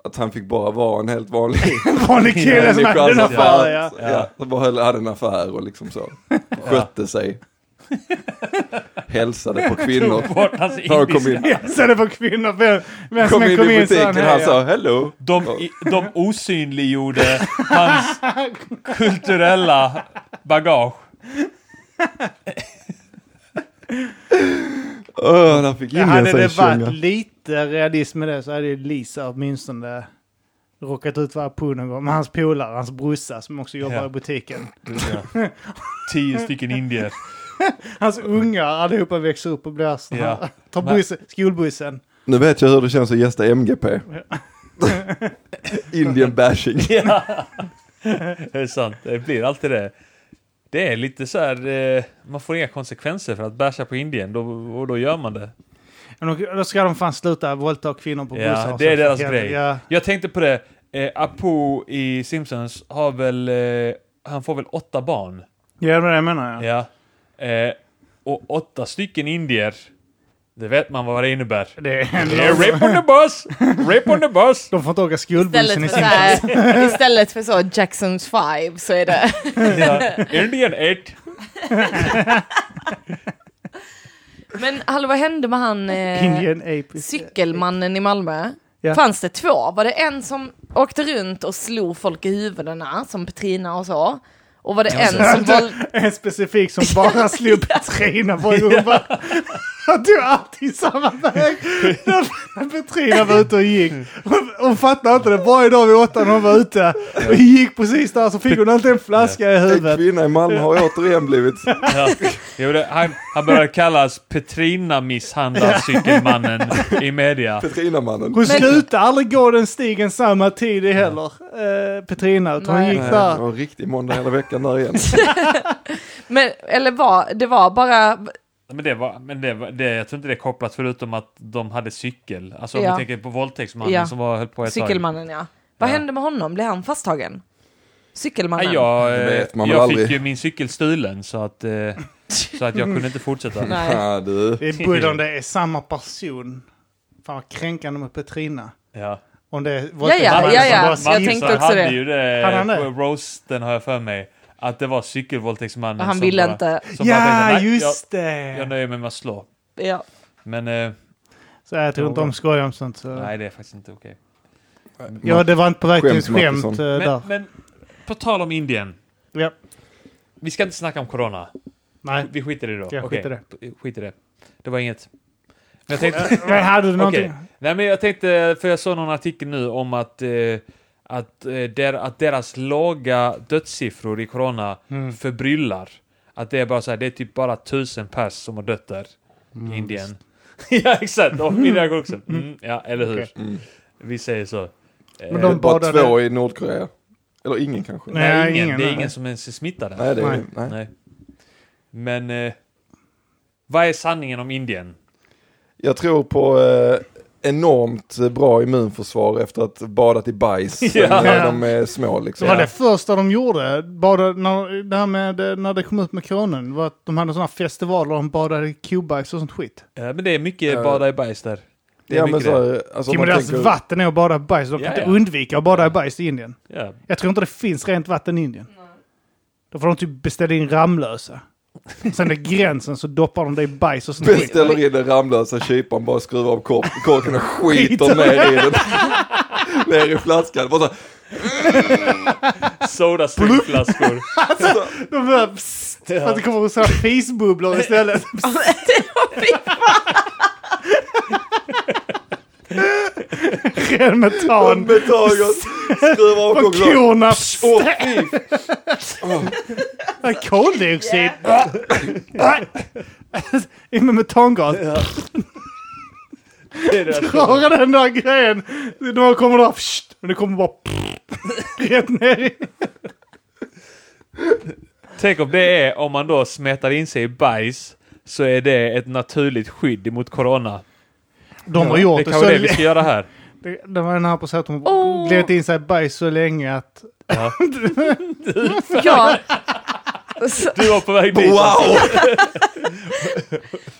D: Att han fick bara vara en helt vanlig
B: Vanlig kille som hade en
D: människa. som
B: affär,
D: bara-
B: ja.
A: Ja.
D: ja. som bara höll- hade en affär och liksom så. Skötte sig. Hälsade på kvinnor.
A: Bort hans
D: När de kom
A: indiska.
D: in,
B: Jag ser det på kvinnor. Vem, vem
D: kom
B: som
D: in
B: kom
D: i
B: in så han,
D: butiken, han
B: hej, ja.
D: sa hello.
A: De, i- de osynliggjorde hans kulturella bagage.
D: Öh, han fick
B: Ja,
D: in
B: hade
D: sig i
B: det varit
D: känga.
B: lite realism med det så hade ju Lisa åtminstone råkat ut för Apu någon gång. Men hans polare, hans brorsa som också jobbar
A: Ja.
B: i butiken.
A: Tio stycken indier.
B: Hans ungar allihopa växer upp och blir såna
A: Ja.
B: här. Tar bussen, skolbussen.
D: Nu vet jag hur det känns att gästa MGP. Indian bashing.
A: Det är sant, det blir alltid det. Det är lite så här, eh, man får inga konsekvenser för att basha på Indien då, och då gör man det.
B: Men då- Då ska de fan sluta våldta kvinnor på
A: Ja,
B: bussar. och
A: det är
B: så.
A: deras
B: Ja,
A: grej.
B: Ja.
A: Jag tänkte på det, eh, Apu i Simpsons har väl, eh, han får väl åtta barn?
B: Ja, det är det jag menar. Ja.
A: Ja. Eh, och åtta stycken indier, det vet man vad det innebär.
B: Det är
A: Det är Eh, rape on the bus! Rape on the bus!
B: De får inte åka
C: Istället
B: skolbussen
C: för,
B: i
C: så
B: sin
C: här, istället för så Jacksons five så är det...
A: Indian 8!
C: Men hallå vad hände med han eh,
B: Indian ape.
C: cykelmannen i Malmö?
B: Ja.
C: Fanns det två? Var det en som åkte runt och slog folk i huvudena som Petrina och så? Och var det en som våld...
B: En specifik som bara slog Petrina på rumpan. Han tog alltid samma väg. När Petrina var ute och gick. Hon, hon fattade inte det. Varje dag vid åtta när hon var ute och gick precis där så fick hon alltid en flaska i
D: En
B: huvudet.
D: kvinna i Malmö har återigen blivit...
A: Ja. Jo, det, han, han började kallas Petrina-misshandlarcykelmannen i media.
D: Petrina-mannen.
B: Hon slutade aldrig gå den stigen samma tid i heller, eh, Petrina. Utan hon
C: Nej.
B: gick
D: Nej, Eh, det var
B: där.
D: en riktig måndag hela veckan där igen.
C: Men, eller var, det var bara...
A: Men, det var, men det var, det, jag tror inte det är kopplat förutom att de hade cykel. Alltså om
C: Ja.
A: vi tänker på våldtäktsmannen
C: Ja.
A: som var, höll på ett
C: Cykelmannen ja. Vad
A: Ja.
C: hände med honom? Blev han fasttagen? Cykelmannen?
A: tag. Nej, jag,
D: Det vet man
A: eh,
D: väl
A: jag
D: aldrig.
A: fick ju min cykel stulen så att, eh, så att jag kunde inte fortsätta.
C: Nej.
D: Ja, du.
B: Det är både om det är samma person. Fan vad kränkande med Petrina.
A: Ja.
B: Om det är
C: Ja,
A: Magnus-
C: ja, ja.
B: bara
A: Magnus
C: Jag tänkte också
A: hade
C: det.
A: ju det
B: Hade han det?
A: på roasten har jag för mig. Att det var cykelvåldtäktsmannen
C: Han
A: som
C: ville
A: bara,
C: inte...
A: Som bara tänkte,
B: Ja,
A: "Nej,
B: just
A: Jag, jag
B: det.
A: nöjer mig med att slå.
C: Ja.
A: Men eh,
B: Så jag tror inte om skoj om sånt. Så.
A: nej, det är faktiskt inte okej.
B: Ja, det var inte på väg till ett
D: Skämt,
B: skämt eh,
D: Mattisson.
B: där.
A: Men, men på tal om Indien.
B: Ja.
A: Vi ska inte snacka om corona.
B: Nej.
A: Vi skiter i det då.
B: Ja, skit
A: Okej,
B: i det.
A: p- Skit i det. Det var inget. Men jag tänkte,
B: Men hade du någonting?
A: Okej. Nej, men jag tänkte, för jag såg någon artikel nu om att, eh, att, eh, der, att deras låga dödssiffror i corona
B: Mm.
A: förbryllar. Att det är bara så här, det är typ bara tusen pers som har dött där
B: Mm,
A: i Indien. ja, exakt. Och min reaktion också. Mm, ja, eller hur?
B: Okej.
A: Vi säger så.
B: Men
D: Det är
B: de
D: bara
B: badade-
D: två i Nordkorea. Eller ingen kanske. Nej,
A: Nej,
B: Nej,
A: ingen.
B: ingen,
A: det är
B: nej.
A: ingen som ens är smittad. än.
D: det är,
B: Nej.
D: nej. nej.
A: Nej. Men eh, vad är sanningen om Indien?
D: Jag tror på eh, enormt bra immunförsvar efter att ha badat i bajs
A: Ja.
D: när de är små
B: Så
D: liksom.
B: var
A: Ja.
B: det första de gjorde, bara när, det här med eh, när det kom ut med coronan, var att de hade sådana festivaler där de badade i kobajs och sånt skit.
A: Ja, men det är mycket
D: Eh,
A: bada i bajs där. Det är
D: Ja, men
A: mycket
D: så,
A: det.
D: här, alltså, om
B: Kim och
D: man
B: deras
D: tänker,
B: vatten är att bada i bajs, de kan
A: Ja,
B: inte
A: ja.
B: undvika att bada i bajs i Indien.
A: Ja.
B: Jag tror inte det finns rent vatten i Indien. Då får de typ beställa in Ramlösa. Sen vid gränsen så doppar de det i bajs och sånt skit.
D: beställer in den Ramlösa kyparen, bara skruvar av kork- korken och skiter
B: Skiter.
D: ner i den. ner i flaskan. Bara så, här,
A: Sodastreamflaskor.
B: De bara psst, för att det kommer så här fisbubblor istället. Ren metan.
D: Med taget, skruvar av
B: Från
D: choklad.
B: korna.
D: Åh fy
B: Koldioxid. In med metangas.
A: Det är det.
B: Röra den där grejen. Då kommer det här, psst, men det kommer bara rätt ner i.
A: Tänk om det är om man då smetar in sig i bajs så är det ett naturligt skydd mot corona.
B: De har
A: Det
B: gjort det,
A: kanske
B: så
A: är det vi ska
B: länge.
A: göra här.
B: Det, det var den här på så att de
C: Åh.
B: gled in sig i bajs så länge att
A: Ja.
C: Ja. Så,
A: Du var på väg dit.
D: wow!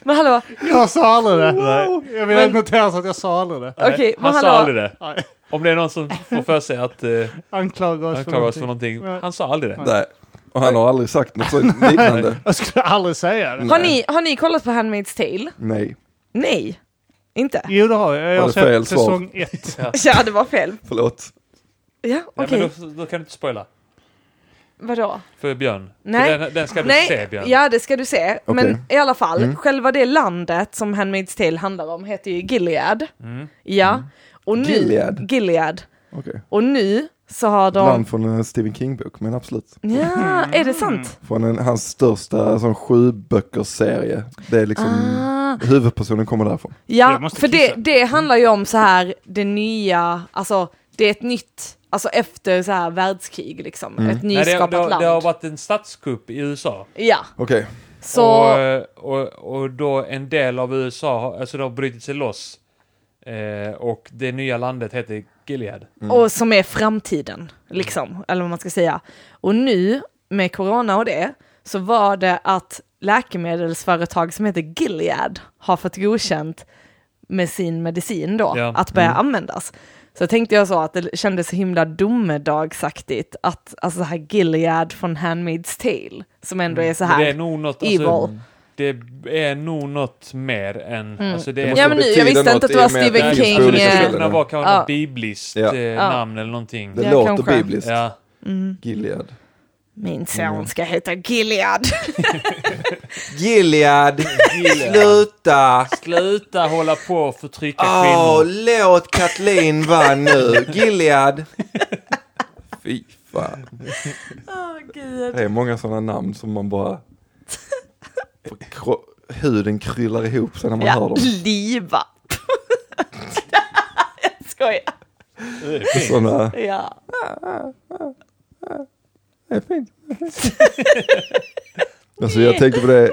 C: men hallå,
B: jag sa aldrig det.
A: Nej.
B: Jag vill
C: Men-
B: notera så att jag sa aldrig det.
A: Nej,
C: okej, men
A: han sa
C: hallå.
A: aldrig det.
B: Nej.
A: Om det är någon som får för sig att eh,
B: Anklaga oss
A: anklaga oss för
B: någonting.
A: någonting.
B: Nej.
A: Han sa aldrig det.
D: Nej, och han har aldrig sagt något sånt liknande.
B: Jag skulle aldrig säga det.
C: Har ni, har ni kollat på Handmaid's Tale?
D: Nej,
C: Nej, inte?
B: Jo, det har jag. Jag
D: Var
B: har
D: det fel
B: sett
D: svar?
B: säsong ett.
C: Ja, det var fel.
D: förlåt.
C: Ja,
A: Ja,
C: okej.
A: men då, då kan du inte spoila.
C: Vadå?
A: För Björn.
C: Nej.
A: För den, den ska du
C: Nej,
A: se Björn.
C: ja det ska du se.
D: Okej. Mm.
C: Men i alla fall, själva det landet som Handmaid's Tale handlar om heter ju Gilead.
A: Mm.
C: Ja. Och nu,
D: Mm. Gilead?
C: Gilead.
D: Okej.
C: Och nu så har de...
D: Land från en Stephen King-bok, men absolut.
C: Ja,
A: Mm.
C: är det sant?
D: Från en, hans största sån sjuböckersserie. Det är liksom,
C: Ah.
D: huvudpersonen kommer därifrån.
C: Ja,
B: Jag måste
C: för det,
B: kissa.
C: det handlar ju om så här det nya, alltså det är ett nytt, alltså efter så här världskrig liksom,
D: Mm.
C: ett
A: Nej, det,
C: nyskapat
A: det, har-
C: land.
A: det har varit en statskupp i USA.
C: Ja,
D: Okej,
C: så...
A: Och, eh, och, och då en del av USA, har- alltså det har brutit sig loss. Eh, och det nya landet heter Gilead.
C: Och som är framtiden, liksom, eller vad man ska säga. Och nu, med corona och det, så var det att läkemedelsföretag som heter Gilead har fått godkänt med sin medicin då,
A: Ja. Mm.
C: att börja användas. Så tänkte jag så att det kändes så himla domedagsaktigt att, alltså så här Gilead från Handmaid's Tale, som ändå är så
A: Mm. Men
C: här.
A: Det är nog något, alltså,
C: Evil.
A: det är nog något mer än... Alltså det är
C: Mm.
D: måste
C: Ja men nu,
D: betyda
C: jag visste
D: något
C: inte att det
D: i
C: var
D: och med
A: Nej,
D: att
C: Stephen
D: det finns
C: King.
D: på olika
A: Det
C: eh,
A: skulle
D: ställen.
A: kunna vara kanske
C: Ja.
A: något bibliskt
D: Ja.
A: eh,
C: Ja.
A: namn eller någonting.
D: det
C: Ja,
D: låter
C: kanske.
D: bibliskt.
A: Ja.
D: Gilead.
C: Min
A: Mm.
C: son ska heta Gilead.
E: Gilead, sluta!
A: Sluta hålla på och förtrycka
D: Ah,
E: Åh,
A: kvinnor.
E: låt Kathleen vara nu. Gilead.
D: Fy fan.
C: Åh gud.
D: Det är många sådana namn som man bara... För kro- huden kryllar ihop sig när man hör
C: Ja,
D: dem.
C: Liva. jag skojar.
D: Sådana...
C: Ja.
D: Det är fint. alltså jag tänkte på det,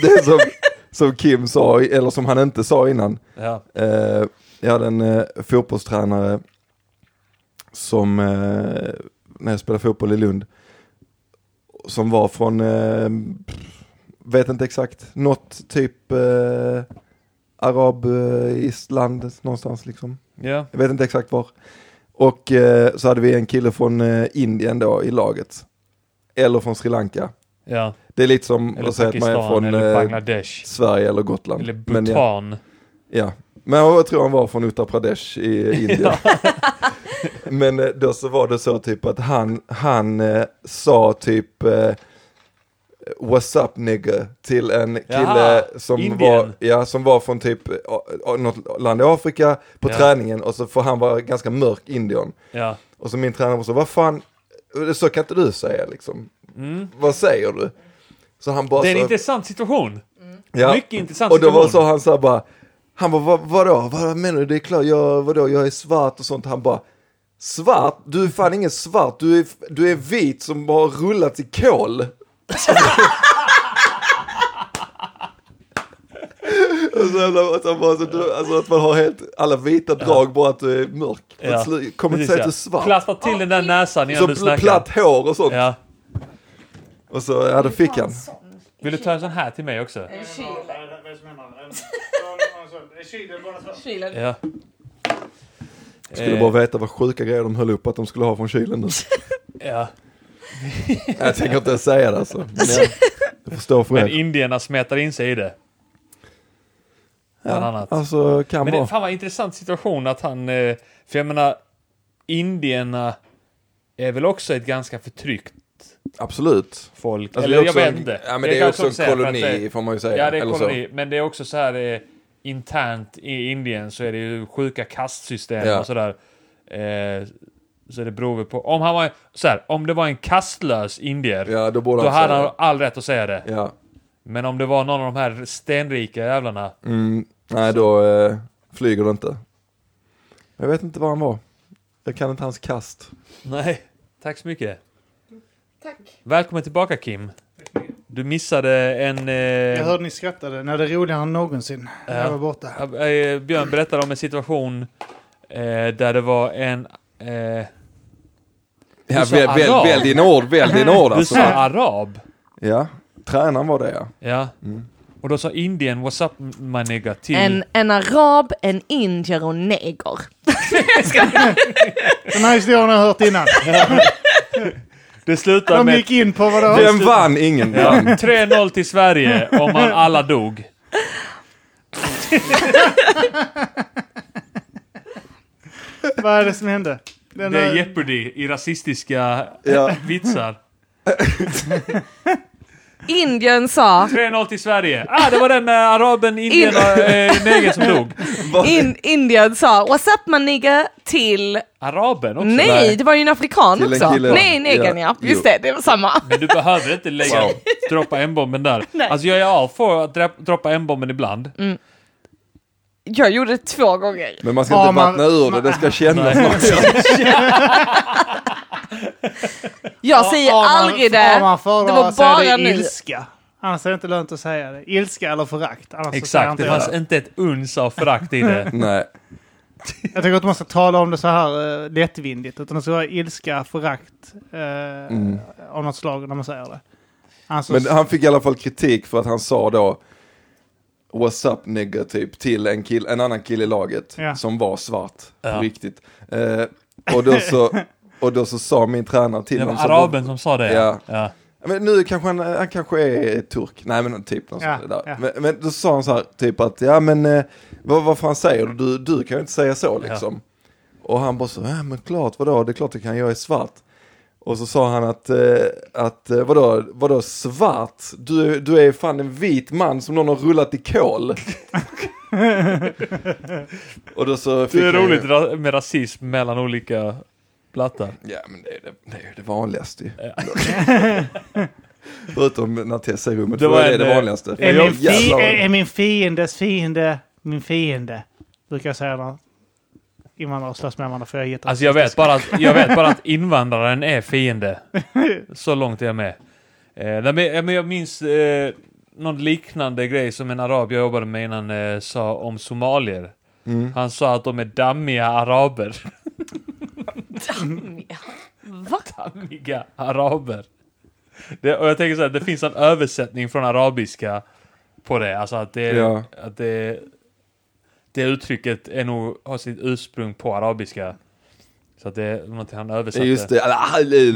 D: det är som, som Kim sa, eller som han inte sa innan.
A: Ja.
D: Eh, jag hade en eh, fotbollstränare som, eh, när jag spelade fotboll i Lund, som var från, eh, vet inte exakt, något typ eh, arab, eh, island någonstans liksom.
A: Ja.
D: Jag vet inte exakt var. Och eh, så hade vi en kille från eh, Indien då i laget. Eller från Sri Lanka.
A: Ja.
D: Det är lite som
A: Eller
D: att säga att man är
A: Pakistan
D: från
A: eller
D: eh,
A: Bangladesh.
D: Sverige eller Gotland.
A: Eller
D: Men ja,
A: Bhutan.
D: Ja. Men jag tror han var från Uttar Pradesh i Indien. Men eh, då så var det så typ att han, han eh, sa typ eh, What's up nigga till en kille
A: Jaha,
D: som,
A: Indien.
D: var, ja, som var från typ eh, a- a- något land i Afrika på
A: Ja.
D: träningen och så för han var ganska mörk indian.
A: Ja.
D: Och så min tränare var så, vad fan, så kan inte du säga liksom. Vad säger du? Så han bara
A: Mm. Det är en
D: så,
A: intressant situation.
D: Alltså- Ja.
A: Mycket intressant
D: Och då var så
A: situation.
D: han så här bara, han bara, vad, vadå, vad menar du, det är klart, jag, vadå, jag är svart och sånt. Han bara, svart? Du är fan ingen svart, du är, du är vit som har rullats i kol. Och så jävla- och så bara, så du- Alltså att man har helt, alla vita drag, bara att du är mörk.
A: Ja.
D: Ja. Kommer inte
A: Precis,
D: säga att
A: ja.
D: du är svart.
A: Klappa till den där näsan innan
D: så
A: du
D: pl-
A: snackar.
D: platt hår och sånt.
A: Ja.
D: Och så, ja det fick han.
A: Vill du ta en sån här till mig också? Ja.
D: Skulle
A: Eh,
D: bara veta vad sjuka grejer de höll upp att de skulle ha från kylen nu.
A: Eh, Ja.
D: Jag tänker inte ens säga det alltså. Men jag, jag förstår för
A: Men
D: er.
A: indierna smetar in sig i det. Bland annat.
D: Alltså kan
A: Men det,
D: vara.
A: fan vad intressant situation att han, eh, för jag menar, indierna är väl också ett ganska förtryckt
D: Absolut.
A: folk.
D: Alltså,
A: Eller
D: det är
A: jag
D: också
A: vet
D: en-
A: inte.
D: Ja, men det är
A: kan
D: också
A: jag
D: en
A: säga, för att
D: koloni,
A: det-
D: får man ju säga.
A: Ja, det är
D: Eller så.
A: koloni. Men det är också så här eh, internt i Indien så är det ju sjuka kastsystem
D: Ja.
A: och sådär. Eh, så det beror väl på. Om han var så här, om det var en kastlös indier,
D: Ja, då borde
A: då
D: han
A: hade
D: säga
A: han all rätt att säga det.
D: det. Ja.
A: Men om det var någon av de här stenrika jävlarna.
D: Mm, nej, då eh, flyger det inte. Jag vet inte var han var. Jag kan inte hans kast.
A: Nej, tack så mycket.
C: Tack.
A: Välkommen tillbaka Kim. Du missade en... Eh,
B: Jag hörde ni skrattade när det är roligare än någonsin. Jag var borta.
A: Eh, Björn berättade om en situation eh, där det var en... Eh,
D: Ja,
A: sa
D: väl, väl,
A: arab.
D: välj dina ord, välj dina ord
A: du
D: alltså.
A: sa arab.
D: Ja, tränaren var det ja.
A: Ja.
D: Mm.
A: Och då sa Indien what's up my nigga till...
C: En, en arab, en indier och en neger.
B: Den här historien har jag hört innan.
A: Det slutar
B: De
A: med
B: gick in på vadå?
D: Vem vann? Ingen vann.
A: 3-0 till Sverige om man alla dog.
B: Vad är det som hände? Den
A: Det är
B: här-
A: Jeopardy i rasistiska
D: Ja.
A: vitsar.
C: Indien sa,
A: 3-0 till Sverige. Ah, det var den med araben, indien och eh, negern som dog.
C: in, Indien sa what's up my nigga till,
A: Araben också?
C: nej det var ju en afrikan
D: Till en
C: också.
D: kille.
C: Nej, negern
D: Ja.
C: ja. Just det, det var samma.
A: Men du behöver inte lägga, droppa M-bomben där.
C: Nej.
A: Alltså jag är all för att dra- droppa M-bomben ibland.
C: Jag gjorde det två gånger.
D: Men man ska
B: Ja,
D: inte
B: man-
D: vattna ur det, det ska kännas
A: Nej.
D: något.
C: Jag säger
B: Har man-
C: aldrig det.
B: har man fördrar
C: Det var
B: att säga
C: bara
B: det
C: nu.
B: ilska. Annars är det inte lönt att säga det. Ilska eller förakt. Annars så säger
A: Exakt,
B: jag inte
A: det fanns
B: det.
A: inte ett uns av förakt i det.
D: Nej,
B: Jag tycker att man ska tala om det så här eh, lättvindigt. Utan det ska vara ilska, förakt eh,
A: Mm.
B: av något slag när man säger det. Alltså,
D: men han fick i alla fall kritik för att han sa då What's up nigga typ till en, kill, en annan kille i laget
B: Ja.
D: som var svart på
A: Ja.
D: riktigt. Eh, och, då så, och då så sa min tränare till
A: Det
D: honom.
A: var
D: så-
A: araben som sa det.
D: Ja.
A: Ja.
D: Men nu kanske han, eh, han kanske är turk. Nej men typ något
B: Ja,
D: sånt där.
B: ja.
D: Men, men då sa han så här typ att ja men eh, vad, vad fan säger du? du? Du kan ju inte säga så liksom. Och han bara så, ja men klart vadå, det är klart det kan, jag är svart. Och så sa han att, eh, att eh, vadå, vadå svart? Du, du är fan en vit man som någon har rullat i kol. Och då så fick
A: Det är
D: han ju-
A: roligt ra- med rasism mellan olika plattor.
D: Ja men det är, det, det, är ju det vanligaste ju. Förutom när Tess är i rummet,
A: Det
D: det,
A: var
D: var det, är
A: en,
D: det
A: eh,
D: vanligaste.
B: är, min fi-
D: Jävlar.
B: är, är min fiendes fiende min fiende? Brukar jag säga när invandrare slåss med varandra. För jag är jätte-
A: Alltså jag vet, bara att, jag vet bara att invandraren är fiende. Så långt är jag med. Eh, nej, men- ja, men jag minns eh, någon liknande grej som en arab jag jobbade med innan eh, sa om somalier.
D: Mm.
A: Han sa att de är dammiga araber.
C: Va?
A: Dammiga araber. Det, och jag tänker så här, det finns en översättning från arabiska på det. Alltså att det,
D: Ja.
A: att det, det uttrycket är nog, har sitt ursprung på arabiska. Så att det är något han
D: Ja,
A: översatte.
D: Just det, Ah, det är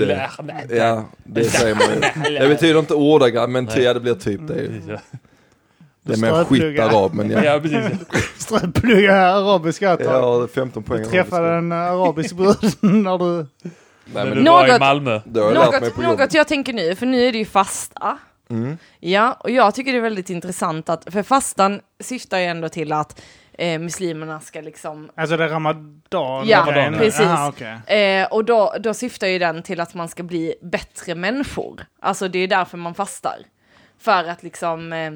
D: det. Ja, det säger man ju. Det betyder inte ordagrant, men ty, ja, det blir typ det. ju.
A: Precis, ja.
D: Det är mer en
B: Stödplugga.
D: skitarab, men ja.
A: Ja, precis.
B: Alltså- Ströplugga arabiska
D: Jag
B: tag.
D: har 15 poäng.
B: Du träffade en arabisk brud när du...
D: Nej,
A: När
D: men
A: du var i
C: Något-
A: Malmö.
D: det har jag lärt mig
C: Något,
D: på jobbet.
C: något jag tänker nu, för nu är det ju fasta.
D: Mm.
C: Ja, och jag tycker det är väldigt intressant att, för fastan syftar ju ändå till att eh, muslimerna ska liksom
B: Alltså det är ramadan?
C: Ja,
B: Ramadan,
C: precis.
B: Aha, okej.
C: Eh, och då, då syftar ju den till att man ska bli bättre människor. Alltså det är därför man fastar. För att liksom eh,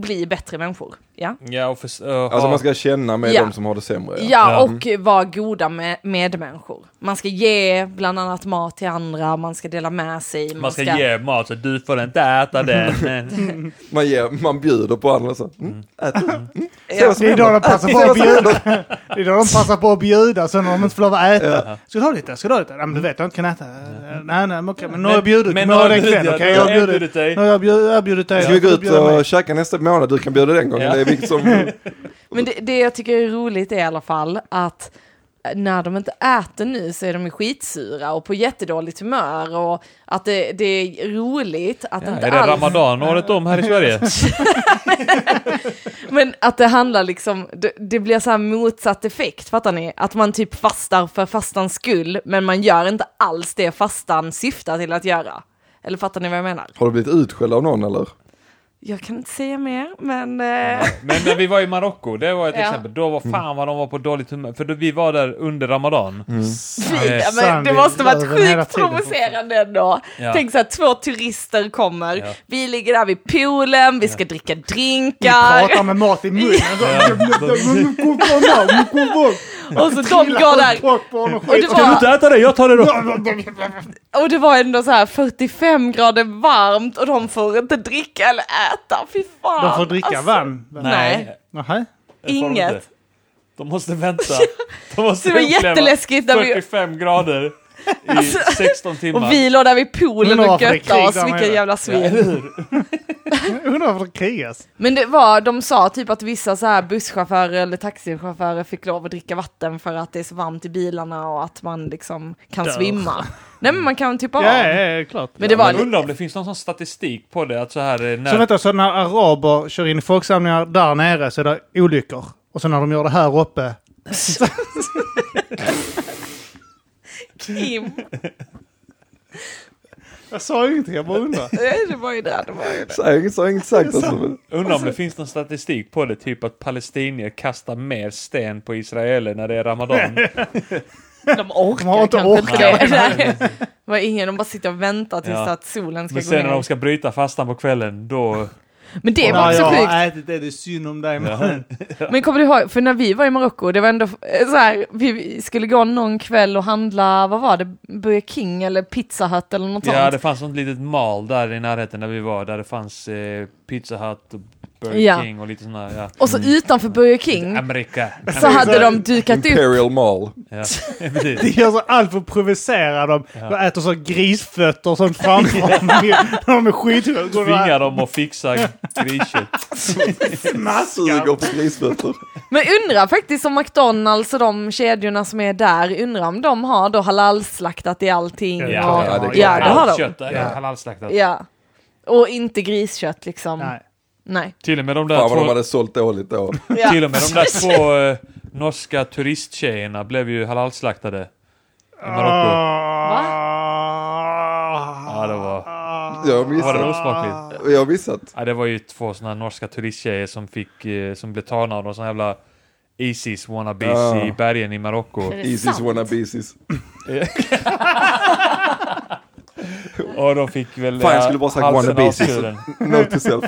C: bli bättre människor. Ja,
A: Ja, och för, eh,
D: Alltså
A: ha-
D: man ska känna med
C: Ja.
D: de som har det sämre.
C: ja,
D: Ja.
C: och vara goda med, medmänniskor. Man ska ge bland annat mat till andra, man ska dela med sig.
A: man ska ge mat, så du får inte äta
B: Mm.
A: den. Men-
D: Man, ger, man bjuder på andra så. Mm, ät. Mm. Se vad som
B: Det är då de
D: händer.
B: passar på att
D: Alltså,
B: bjuda. Det är då de passar på att bjuda, sen när de inte får lov att äta. Ska du ha lite? Ska du ha lite? Nej, men du vet, jag inte kan äta. Nej, nej, men okej, men nu har jag bjudit.
A: men
B: Men, nu har
A: nu
B: jag
A: har
B: ikväll,
A: jag-
B: okej?
A: jag
B: Jag
A: har
B: har
A: bjudit
B: bjudit
A: dig.
B: dig. Nu har jag bjud- jag har bjudit dig.
D: Ska
B: Nu
D: vi
B: får
D: gå
B: du
D: ut
B: bjuda mig.
D: och käka nästa månad? Du kan bjuda den gången.
A: Ja.
D: Det är vilket som...
C: Men det, det jag tycker är roligt är i alla fall att eh, när de inte äter nu så är de ju skitsura och på jättedåligt humör och att det, det är roligt att
A: Ja,
C: inte
A: är det
C: alls...
A: Ramadan året om här i Sverige?
C: Men att det handlar liksom, det, det blir så här motsatt effekt, fattar ni? Att man typ fastar för fastans skull, men man gör inte alls det fastan syftar till att göra. Eller fattar ni vad jag menar?
D: Har du blivit utskälld av någon eller?
C: Jag kan inte säga mer, men... Eh,
A: Men när vi var i Marocko, det var ett
C: Ja.
A: exempel. Då var fan vad de var på dåligt humör. För då, vi var där under Ramadan.
C: fy,
A: Eh,
C: ja, men det måste varit
B: Sandviken hela
C: sjukt
B: tiden.
C: provocerande ändå.
A: Ja.
C: Tänk så här, två turister kommer,
A: Ja.
C: vi ligger där vid poolen, vi ska dricka
B: Vi
C: drinkar.
B: pratar med mat i munnen. Alltså,
C: Och så de går där. Och det,
A: Kan du
C: var,
A: inte äta det? Jag tar det då!
C: och det var ändå så här 45 grader varmt och de får inte dricka eller äta. Fy fan.
B: De får dricka
C: Alltså,
B: vann.
C: Nej.
B: Nähä.
A: det får de
C: Inget.
A: inte. De måste vänta. De måste
C: Det var
A: uppleva
C: jätteläskigt när vi- Alltså,
A: 45 grader i 16 timmar.
C: Och vi låg där vid poolen
B: Undrar
C: och
B: varför det är
C: göttade
B: krig
C: oss,
B: där
C: vilka
B: nere.
C: jävla svin.
B: Undrar varför det krigas.
C: Men det var, de sa typ att vissa så här busschaufförer eller taxichaufförer fick lov att dricka vatten för att det är så varmt i bilarna och att man liksom kan
B: Dör.
C: svimma. Nej men man kan typ av.
B: Ja, ja, ja, klart.
C: Men det var
A: Jag
C: lite...
A: undrar om det finns någon sån statistik på det, att så här eh, när...
B: Så vänta, så när araber kör in i folksamlingar där nere så är det olyckor. Och så när de gör det här uppe.
C: Kim.
B: Jag sa ju ingenting, jag bara undrar.
C: Nej, Det var ju det, det var ju det.
D: Så jag har inget- så jag har inget sagt alltså. men-
A: Undrar om det finns någon statistik på det, typ att palestinier kastar mer sten på israeler när det är Ramadan.
C: De orkar
B: De har inte
C: kanske
B: orkat.
C: inte det. Nej. Det var ingen, de bara sitter och väntar tills
A: Ja.
C: att solen ska
A: Men
C: gå
A: sen
C: ner.
A: när de ska bryta fastan på kvällen, då...
C: Men det var
B: När
C: också
B: jag
C: sjukt.
B: har ätit det, det är synd om dig mannen.
C: Men kommer du ihåg, för när vi var i Marocko, det var ändå eh, så här, vi skulle gå någon kväll och handla, vad var det, Burger King eller Pizza Hut eller något
A: Ja,
C: sånt.
A: det fanns något litet mal där i närheten där vi var, där det fanns eh, Pizza Hut och Burger
C: Ja.
A: King och lite sådana, ja.
C: Och så utanför Burger King
A: Amerika.
C: så hade de dukat upp
D: Imperial Mall.
A: Ja, precis.
B: Det gör så allt för att provocera dem. De äter så grisfötter och sånt framför dem. När de är skithungriga. Går de
A: Tvinga
B: här-
A: dem att fixa griskött.
D: Suger på grisfötter.
C: Men undrar faktiskt om McDonalds och de kedjorna som är där, undrar om de har då halalslaktat i allting.
B: Ja,
C: och,
B: det
A: Ja,
D: Ja, det är
C: ja,
D: klart.
C: det har de.
A: Kött, ja. Halalslaktat.
C: Ja. Och inte griskött liksom. Nej.
B: Nej.
A: Till och med de där
D: Fan vad de
A: två,
D: hade sålt dåligt då.
C: Ja.
A: till och med de där två eh, norska turisttjejerna blev ju halalslaktade.
C: Ah.
A: I Marocko. Ja, det var...
D: Jag har
A: Var det
D: missat.
A: osmakligt?
D: Jag har missat.
A: Ja, det var ju två såna här norska turisttjejer som fick, eh, som blev tagna av de såna jävla Isis wannabes
D: Ja.
A: i bergen i Marocko.
C: Är det
D: Isis
C: sant?
D: wannabesis.
A: Och de fick väl...
D: Fan, jag
A: eh,
D: skulle bara sagt
A: halsen
D: wannabes.
A: avskuren.
D: Note to self.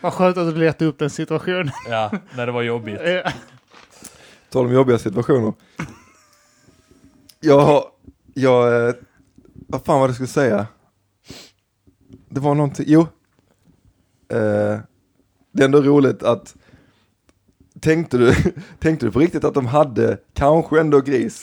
B: Vad skönt att du letade upp den situationen.
A: Ja, när det var jobbigt.
B: Eh,
D: Tal om jobbiga situationer. Jag har, jag, eh, vad fan var det jag skulle säga? Det var någonting, jo. Eh, det är ändå roligt att, tänkte du, tänkte du på riktigt att de hade kanske ändå gris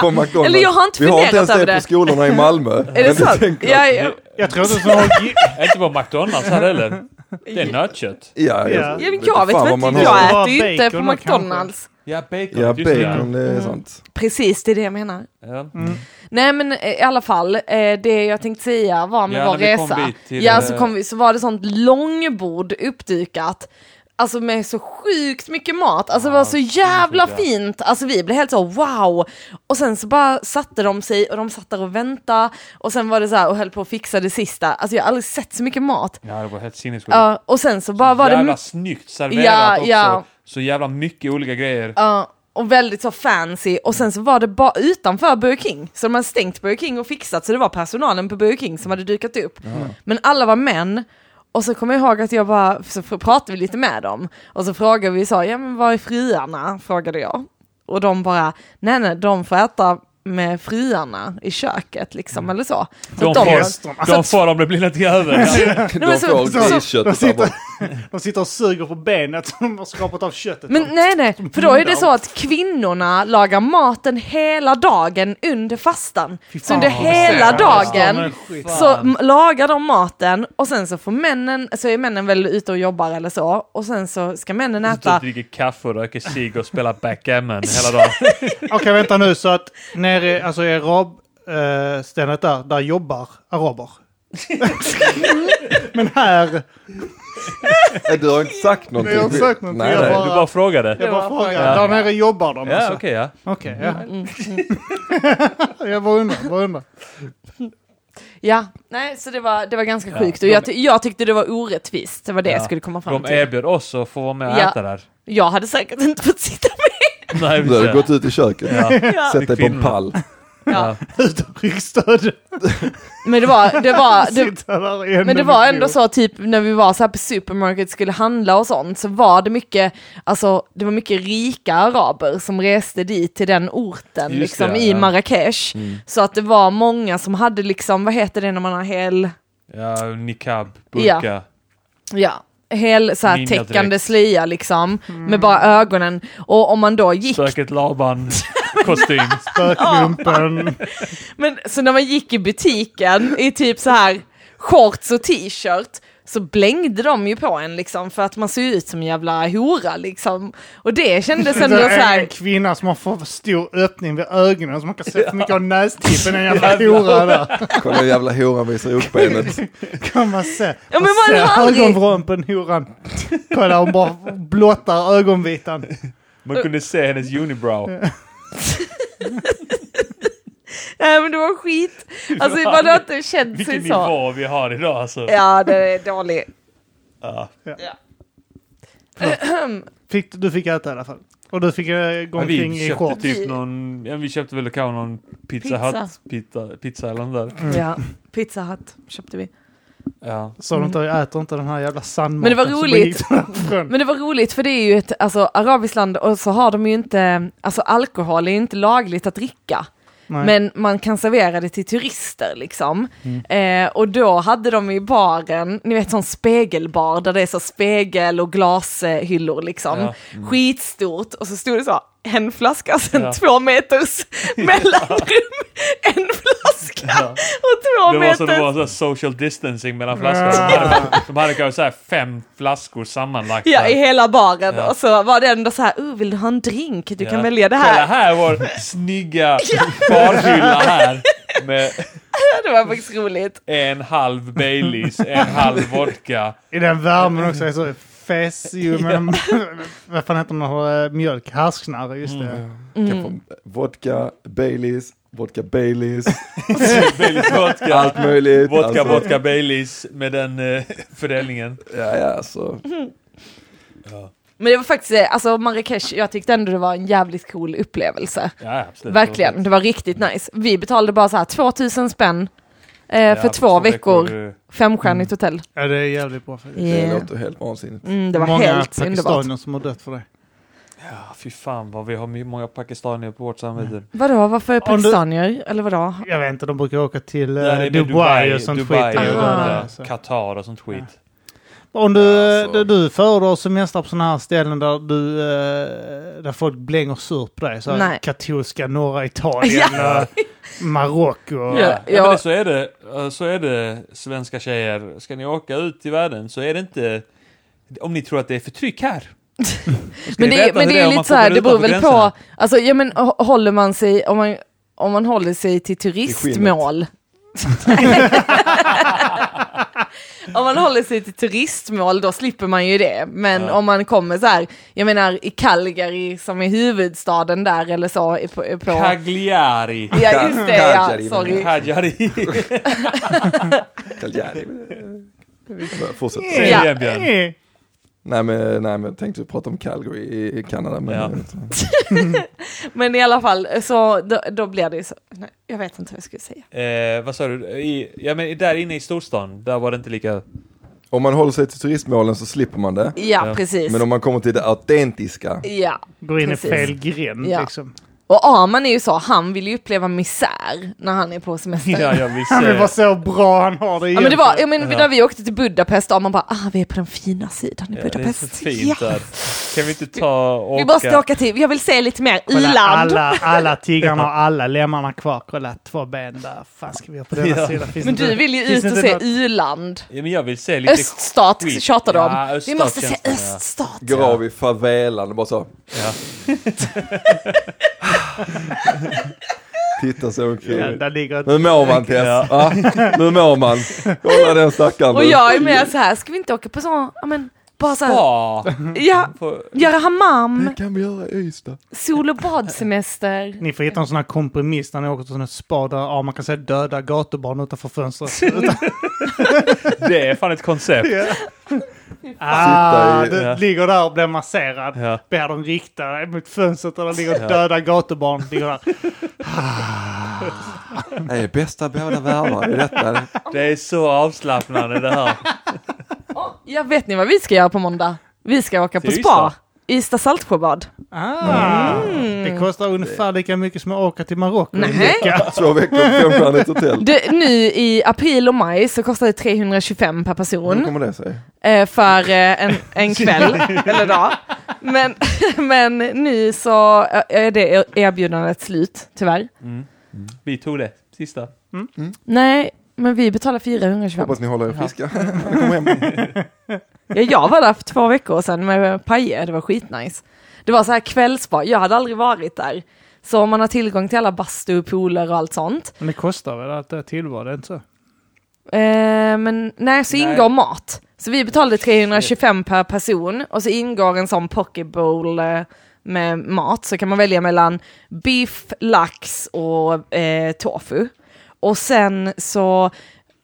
D: på
C: ja.
D: McDonalds?
C: Eller jag har inte
D: Vi har inte
C: funderat
D: ens
C: över
D: det
C: det.
D: på skolorna i Malmö.
C: Är det sant? Ja, ja.
B: Jag tror inte att de har gi-
A: Inte på McDonalds här heller. Det är nötkött.
B: Ja.
D: Ja, jag,
C: Ja, men jag vet
D: fan
C: väl
D: vad man
C: inte,
D: har.
C: jag
B: Bara
C: äter ju inte på
B: bacon och
C: McDonalds.
A: Ja, bacon.
D: Ja,
A: just det,
D: bacon, det är
C: Mm.
D: sant.
C: Precis, det är det jag menar.
A: Ja. Mm.
C: Nej men eh, i alla fall, eh, det jag tänkte säga var med
A: Ja,
C: vår
A: när vi kom
C: resa.
A: dit till,
C: ja,
A: eh,
C: så, kom vi, så var det sånt långbord uppdukat. Alltså med så sjukt mycket mat. Alltså det var så jävla
A: sjukt, ja.
C: fint. Alltså vi blev helt så wow. Och sen så bara satte de sig och de satt där och väntade. Och sen var det så här och höll på att fixa det sista. Alltså jag har aldrig sett så mycket mat.
A: Ja, det var helt sinnessjukt.
C: Ja, och sen så bara var
A: jävla
C: det...
A: snyggt serverat
C: Ja,
A: också.
C: ja.
A: Så jävla mycket olika grejer.
C: Ja, och väldigt så fancy. Och sen så var det bara utanför Burger King. Så de hade stängt Burger King och fixat, så det var personalen på Burger King som hade dukat upp. Men alla var män. Och så kommer jag ihåg att jag bara, så fr- pratade vi lite med dem. Och så frågade vi, så, ja men var är fruarna? Frågade jag. Och de bara, nej nej, de får äta med fruarna i köket liksom,
B: Mm.
C: eller så. så
A: De,
C: att de-
A: får, de får om det blir något över.
D: De
C: men så-
D: får
C: så-
D: grisköttet där borta.
B: De sitter och suger på benet som de har skrapat av köttet.
C: Men
B: av.
C: nej, nej, för då är det
B: Hundar.
C: så att kvinnorna lagar maten hela dagen under fastan.
B: Fy
C: Så
B: fan,
C: under
B: vad det
C: hela
B: ser ut. Ja,
C: dagen
B: men skit.
C: så m- lagar de maten och sen så får männen, så är männen väl ute och jobbar eller så, och sen så ska männen
A: Sitter och
C: äta.
A: dricker kaffe och röker cigg och spelar backgammon hela dagen.
B: Okej, vänta nu. Så att nere alltså, i arabstället där, där jobbar araber. Men här,
D: Nej, "Äh, Du har inte sagt någonting.
B: har inte sagt någonting,
D: Nej,
B: jag
D: nej.
A: Du bara frågade.
B: jag bara
C: var
B: frågar.
C: frågan. Mm.
B: Där nere jobbar de
A: Ja,
B: alltså?
A: okej ja.
B: Okej, ja. jag bara undrar, bara undrar.
C: Ja, nej, så det var, det var ganska
A: Ja,
C: sjukt och
A: de-
C: jag, ty- jag tyckte det var orättvist, det var det jag
A: Ja.
C: skulle komma fram
A: De
C: till.
A: erbjöd oss att få vara med och
C: Ja.
A: äta där.
C: Jag hade säkert inte fått sitta med.
A: Nej, vi
D: Du hade
A: ser.
D: gått ut i köket,
A: Ja.
C: Ja,
D: sätt dig på en
A: Kvinnorna.
D: pall.
A: Ja.
B: Utan ryggstöd.
C: men det var, det var, det,
B: Sitta där i en
C: Men det
B: minut.
C: var ändå så typ när vi var så här på supermarket skulle handla och sånt så var det mycket, alltså det var mycket rika araber som reste dit till den orten
A: Just
C: liksom
A: det,
C: i
A: ja.
C: Marrakesh. Så att det var många som hade liksom, vad heter det när man har hel,
A: ja, niqab, burka.
C: Ja. ja, hel så här
A: Ninjadräkt.
C: täckande slöja liksom med bara ögonen. Och om man då gick
A: Stöket Laban-kostym.
B: Spöklumpen.
C: Men så när man gick i butiken i typ så här shorts och t-shirt så blängde de ju på en liksom för att man såg ut som en jävla hora liksom. Och det kändes ändå så
B: Det är en
C: här,
B: kvinna som har för stor öppning vid ögonen så man kan se för mycket av nästippen. En jävla hora där.
D: Kolla hur jävla horan visar upp benet.
A: Mm.
B: Kan man se.
C: Ja, men
B: Man
C: var det
B: ser
C: aldrig-
B: ögonvrån på den horan. Kolla hon bara blottar ögonvitan.
A: Man kunde se hennes unibrow.
C: nej men det var skit. Alltså man har inte känt
A: Vilken
C: sig så.
A: nivå vi har idag alltså.
C: Ja, det är dålig.
A: Ja.
B: Fick, du fick äta i alla fall. Och du fick eh, gå
A: Ja,
B: omkring
A: vi
B: i
A: köpte
B: shorts.
A: typ någon, ja, vi köpte väl kanske någon pizza,
C: Pizza.
A: Hut, pizza, pizza eller något där.
C: Ja, pizza hut köpte vi.
A: Ja.
B: Så de inte, jag äter inte den här jävla sandmaten.
C: Mm. Men det var
B: som
C: roligt.
B: gick därifrån.
C: Men det var roligt för det är ju ett alltså, arabiskt land och så har de ju inte, alltså alkohol är ju inte lagligt att dricka.
B: Nej.
C: Men man kan servera det till turister liksom.
A: Mm.
C: Eh, och då hade de i baren, ni vet sån spegelbar där det är så spegel och glashyllor liksom.
A: Ja. Mm.
C: Skitstort och så stod det så, en flaska, sen
A: Ja.
C: två meters mellanrum. En flaska och två
A: Det var
C: meters.
A: så det var så här social distancing mellan flaskorna.
B: Ja.
A: De hade, de hade kanske så här fem flaskor sammanlagt.
C: Ja,
A: där.
C: i hela baren.
A: Ja.
C: Och så var det ändå så här, oh, vill du ha en drink? Du kan
A: Ja.
C: välja det
A: Kolla
C: här.
A: här vår snygga barhylla här. Med
C: Det var faktiskt roligt.
A: en halv Baileys, en halv vodka.
B: I den värmen också. är Så fes ju med... Vad fan heter den? eh, Mjölk? Härsknarre, just det.
C: Mm.
D: Kan få Vodka, Baileys, vodka Baileys,
A: Baileys vodka.
D: allt möjligt.
A: Vodka,
D: alltså.
A: vodka Baileys med den eh, fördelningen.
D: Ja, alltså, ja, så.
C: Men det var faktiskt, eh, alltså Marrakesh, jag tyckte ändå det var en jävligt cool upplevelse.
A: Ja, absolut.
C: Verkligen, det var Mm. riktigt nice. Vi betalade bara så här 2000 spänn eh,
A: Ja,
C: för två veckor, Mm. femstjärnigt hotell.
B: Ja, det är jävligt bra. faktiskt.
D: Det
C: Yeah.
D: låter helt vansinnigt.
C: Mm, det var
B: Många
C: helt underbart.
B: pakistanier som har dött för det.
A: eh, Ja, fy fan vad vi har my- många pakistanier på vårt
B: Mm.
A: samvete.
C: Vadå, varför
B: Om du-
C: pakistanier? Eller vadå?
B: Jag vet inte, de brukar åka till eh,
A: Ja, det är
B: Dubai,
A: med
B: och sånt
A: Dubai
B: skit.
A: och
C: Aha.
A: sånt där.
B: Alltså.
A: Qatar och sånt skit.
B: Om du,
D: Alltså.
B: du, du föredrar att semestra på sådana här ställen där, du, eh, där folk blänger sur på dig. Så här
C: Nej.
B: katolska norra Italien,
A: Ja.
B: Marocko.
A: Ja,
C: Ja.
A: men det, så, är det, eh, så är det svenska tjejer. Ska ni åka ut i världen så är det inte om ni tror att det är förtryck här. Då ska
C: Men
A: ni
C: det, är-
A: veta
C: men
A: hur
C: det är
A: om
C: lite
A: man
C: så här,
A: kommer
C: det beror väl
A: utanför gränserna.
C: på, alltså ja men hå- håller man sig, om man, om man håller sig till turistmål. om man håller sig till turistmål då slipper man ju det. Men
A: Ja.
C: om man kommer så här, jag menar i Calgary som är huvudstaden där eller så. i- På, i- på,
A: Cagliari.
C: ja just det, ja,
D: Calgary,
C: sorry.
A: Cagliari.
D: Cagliari. Fortsätt.
A: Säg
C: Ja.
A: det igen, Björn.
B: Eh,
D: Nej men, nej men jag tänkte prata om Calgary i, i Kanada. Men,
A: Ja.
C: Men i alla fall, så då, då blir det ju så, nej, jag vet inte vad jag skulle säga.
A: Eh, vad sa du? I, ja, men där inne i storstan, där var det inte lika...
D: Om man håller sig till turistmålen så slipper man det.
C: Ja,
A: Ja.
C: precis.
D: Men om man kommer till det autentiska.
C: Ja,
B: Går in
C: Precis.
B: i fel gränd
C: Ja.
B: liksom.
C: Och Arman är ju så, han vill ju uppleva misär när han är på semester.
A: Ja, jag vill
B: Han är bara
A: se.
B: så bra han har det
C: Ja, men det var, ja, men
A: Ja.
C: när vi åkte till Budapest, ja, man bara, ah, vi är på den fina sidan
A: Ja,
C: i
A: det är så
C: Budapest.
A: fint
C: ja.
A: där. Kan vi inte ta och
C: Vi måste
A: åka?
C: åka till, jag vill se lite mer
B: Kolla,
C: i-land.
B: Alla, alla tiggarna har alla lemmarna kvar. Kolla, två ben där. Fan ska vi göra på denna
A: Ja.
B: sidan? Finns
C: Men
B: inte-
C: du vill ju
B: finns
C: ut och
B: inte
C: se
B: något-
C: i-land.
A: Ja, men jag vill se lite
C: Öststat
A: skit.
C: tjatar de.
A: Ja,
C: vi
A: öststat
C: måste se
A: känns det, ja.
C: öststat.
D: Går av i favelan och bara så.
A: Ja.
D: Titta sig
B: Ja,
D: omkring.
B: där ligger
A: Mm.
B: ett...
D: Nu mår man Tess.
A: Ja.
D: Ja. nu mår man. Kolla den stackaren.
C: Och
D: nu.
C: jag är med så här, ska vi inte åka på så, ja men bara så här,
A: Ja.
C: ja,
A: På-
C: göra hammam,
D: Det kan vi göra i Ystad.
C: sol och badsemester.
B: Ni får hitta en sån här kompromiss när ni åker till ett spa där ja, man kan se döda gatubarn utanför fönstret.
A: Det är fan ett koncept.
B: ah,
D: Sitta
A: i-
B: du
A: Ja.
B: ligger där och blir masserad.
A: Ja.
B: Ber dem rikta dig mot fönstret där det ligger döda gatubarn. Ligger där.
D: Det är bästa båda världar i detta.
A: Det är så avslappnande det här.
C: Jag vet ni vad vi ska göra på måndag? Vi ska åka på
A: Till
C: spa.
A: Ystad.
C: Ystad Saltsjöbad.
B: Ah, Det kostar ungefär lika mycket som att åka till Marocko.
C: Mm. Nej.
D: Två veckor på femstjärnigt hotell.
C: Det, nu i april och maj så kostar det 325 per
D: Hur
C: person
D: kommer det sig?
C: eh, för eh, en, en kväll eller dag. Men, men nu så eh, är det erbjudandet slut, tyvärr.
A: Vi tog det sista.
C: Nej, men vi betalar 425.
D: Hoppas ni håller er friska. Ni kommer hem.
C: Ja, jag var där för två veckor sedan med pajer, det var skitnice. Det var så här kvällsbar, jag hade aldrig varit där. Så om man har tillgång till alla bastu, pooler och allt sånt.
B: Men det kostar väl att det tillvaro, det är inte så?
C: Eh, men nej, så
A: Nej.
C: ingår mat. Så vi betalade 325 per person och så ingår en sån poke bowl eh, med mat. Så kan man välja mellan biff, lax och eh, tofu. Och sen så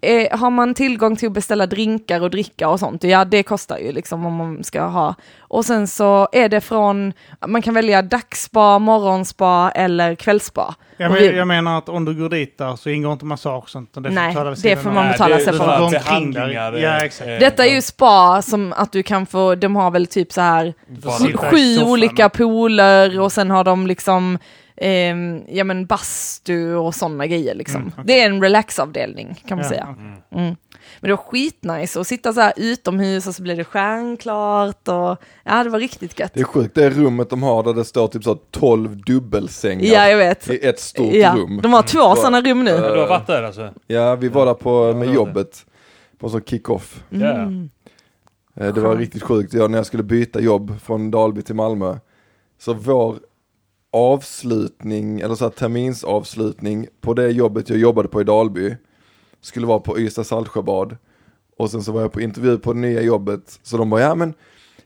C: eh, har man tillgång till att beställa drinkar och dricka och sånt. Ja, det kostar ju liksom om man ska ha. Och sen så är det från, man kan välja dagsspa, morgonspa eller kvällsspa.
B: Jag,
C: Och
B: men,
C: vi-
B: jag menar att om du går dit där så ingår inte massage och sånt. utan Det
C: Nej,
B: får du betala vid
C: det
B: sidan
C: får
B: av.
C: man
A: Nej,
C: betala
A: det är
C: separat.
A: sådana
B: Gå omkring
A: behandlingar.
B: där.
A: eh,
B: Ja, exakt.
A: eh,
C: Detta är ju spa som att du kan få, de har väl typ så här
A: bara-
B: Sitta i
C: sju
B: soffan.
C: olika pooler och sen har de liksom ehm, ja men bastu och sådana grejer liksom. Det är en relaxavdelning kan man
B: Mm, Ja,
C: säga.
B: okej.
C: Mm. Men det var skitnice att sitta så här utomhus och så blev det stjärnklart och ja det var riktigt gött.
D: Det är sjukt, det är rummet de har där det står typ så 12 dubbelsängar
C: Ja jag vet.
D: i ett stort
C: Ja,
D: rum.
C: de har två sådana rum nu.
A: Men Du har varit där alltså?
D: Ja, vi var där på,
A: det
D: med
A: var
D: jobbet, på en sån kick-off.
A: Ja.
D: Eh, Det var riktigt sjukt, jag, när jag skulle byta jobb från Dalby till Malmö, så vår avslutning, eller så här terminsavslutning på det jobbet jag jobbade på i Dalby, skulle vara på Ystad Saltsjöbad. Och sen så var jag på intervju på det nya jobbet, så de bara, ja men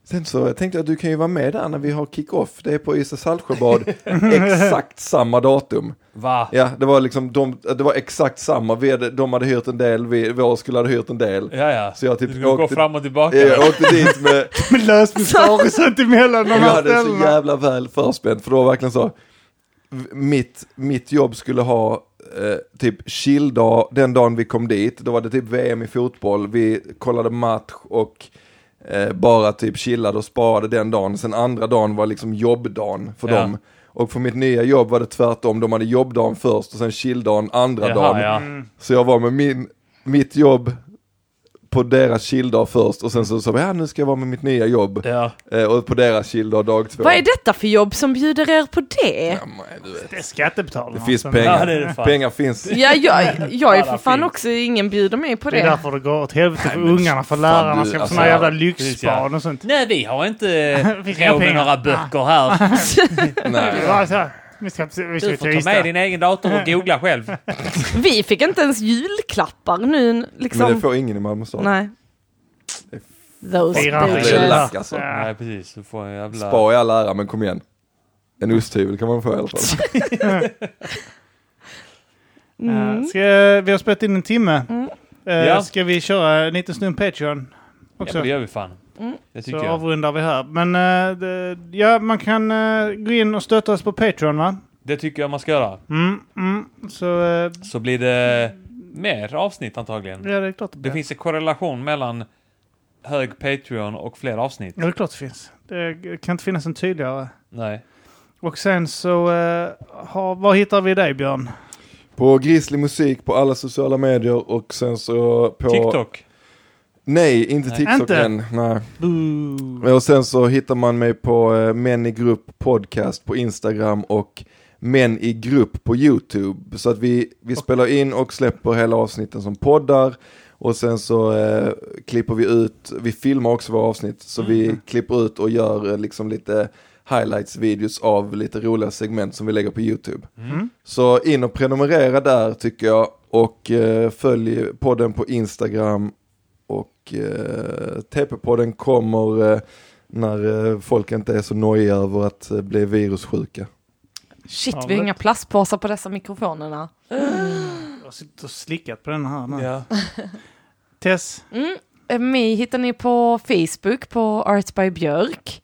D: Sen så tänkte jag att du kan ju vara med där när vi har kick-off, det är på Ystad Saltsjöbad, exakt samma datum.
A: Va?
D: Ja, det var liksom, de, det var exakt samma, vi hade, de hade hyrt en del, vi, vår skulle hade hyrt en del.
A: Ja, ja.
D: Så jag typ
A: du ska gå
D: åkte-
A: fram och tillbaka?
D: Jag åkte dit med,
B: Med lösmustasch och sånt emellan de
D: jag
B: här
D: hade så
B: ställena.
D: jävla väl förspänt, för det var verkligen så, v- mitt, mitt jobb skulle ha eh, typ chilldag, den dagen vi kom dit, då var det typ VM i fotboll, vi kollade match och eh, bara typ chillade och sparade den dagen, sen andra dagen var liksom jobbdagen för
A: Ja.
D: dem. Och för mitt nya jobb var det tvärtom, de hade jobbdagen först och sen chilldagen andra dagen. Mm.
A: Jaha, ja.
D: Så jag var med min, mitt jobb på deras chilldag först och sen så sa jag ja, nu ska jag vara med mitt nya jobb
A: ja.
D: eh, och på deras chilldag dag två.
C: Vad är detta för jobb som bjuder er på det?
D: Ja, men du vet.
B: Det är skattebetalarna.
D: Det finns
B: som-
D: pengar.
A: Ja, det är det fan.
D: Pengar finns.
C: Ja, jag, jag är
A: Alla
C: för fan
A: fint.
C: också, ingen bjuder mig på
B: Det är
C: det.
B: därför det går åt helvete för ungarna, för lärarna
D: du,
B: ska på
D: alltså,
B: såna jävla
A: precis, ja.
B: lyxbarn och sånt.
A: Nej, vi har inte
B: Vi ska ha
A: råd med
B: pengar. Ah.
A: några böcker här.
B: Det
D: Nej.
B: var så här, Vi ska, vi ska
A: Du
B: till
A: får ta med
B: Ystad.
A: din egen dator och googla själv.
C: Vi fick inte ens julklappar nu
D: Men det
C: liksom.
D: får ingen i Malmö stad.
C: Nej.
D: Det är
C: Those
B: Fyra
D: Det är
C: bitches.
D: lack alltså.
B: Ja.
A: Nej, precis. Du får en jävla...
D: Spar i all ära men kom igen. En osthyvel kan man få i alla fall.
C: Mm.
B: Ja, Ska, vi har spelat in en timme. Eh,
A: Ja.
B: Ska vi köra en liten stund Patreon
A: Ja,
B: också?
A: men det gör vi fan. Det tycker
B: så
A: jag.
B: avrundar vi här. Men eh, det, ja, man kan eh, gå in och stötta oss på Patreon va?
A: Det tycker jag man ska göra.
B: Mm, mm. Så eh,
A: Så blir det mer avsnitt antagligen.
B: ja, det är klart det,
A: Det
B: blir.
A: finns en korrelation mellan hög Patreon och fler avsnitt.
B: Ja, det är klart det finns. Det kan inte finnas en tydligare.
A: Nej.
B: Och sen så, eh, har, var hittar vi dig Björn?
D: På Grizzly Musik på alla sociala medier och sen så på...
A: TikTok.
D: Nej, inte
A: Nej.
D: TikTok
B: Inte?
D: än. Nej.
B: Boo.
D: Och sen så hittar man mig på eh, Män i Grupp Podcast på Instagram och Män i Grupp på YouTube. Så att vi, vi spelar in och släpper hela avsnitten som poddar. Och sen så eh, klipper vi ut, vi filmar också våra avsnitt, så
B: Mm.
D: vi klipper ut och gör eh, liksom lite highlights-videos av lite roliga segment som vi lägger på YouTube.
B: Mm.
D: Så in och prenumerera där tycker jag och eh, följ podden på Instagram och eh, TP-podden kommer eh, när eh, folk inte är så nojiga över att eh, bli virussjuka.
C: Shit,
B: Ja,
C: vi har
B: men-
C: inga plastpåsar på dessa mikrofonerna.
B: Jag har suttit och slickat på den här nu.
A: Ja.
B: Tess,
C: Eh, Mig hittar ni på Facebook på Arts by Björk.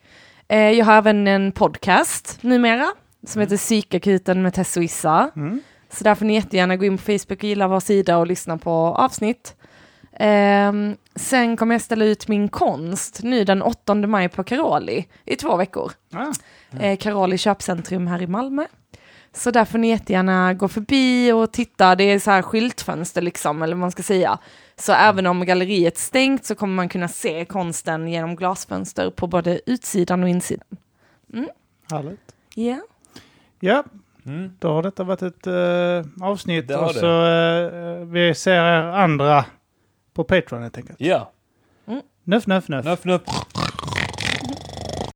C: Eh, Jag har även en podcast numera som heter Psykakuten med Tess och Issa.
B: Mm.
C: Så där får ni jättegärna gå in på Facebook och gilla vår sida och lyssna på avsnitt. Ehm, sen kommer jag ställa ut min konst nu den 8 maj på Caroli i två veckor.
B: ah,
C: Eh, Caroli köpcentrum här i Malmö. Så där får ni jättegärna gå förbi och titta. Det är så här skyltfönster liksom, eller vad man ska säga. Så även om galleriet är stängt så kommer man kunna se konsten genom glasfönster på både utsidan och insidan.
B: härligt.
C: Ja,
B: Ja,
A: Mm.
B: då har detta varit ett eh, avsnitt
A: Det har
B: och
A: det.
B: så eh, vi ser er andra på Patreon helt enkelt.
A: Ja.
B: Nuff, nuff, nuff.
A: Nöff, nöff.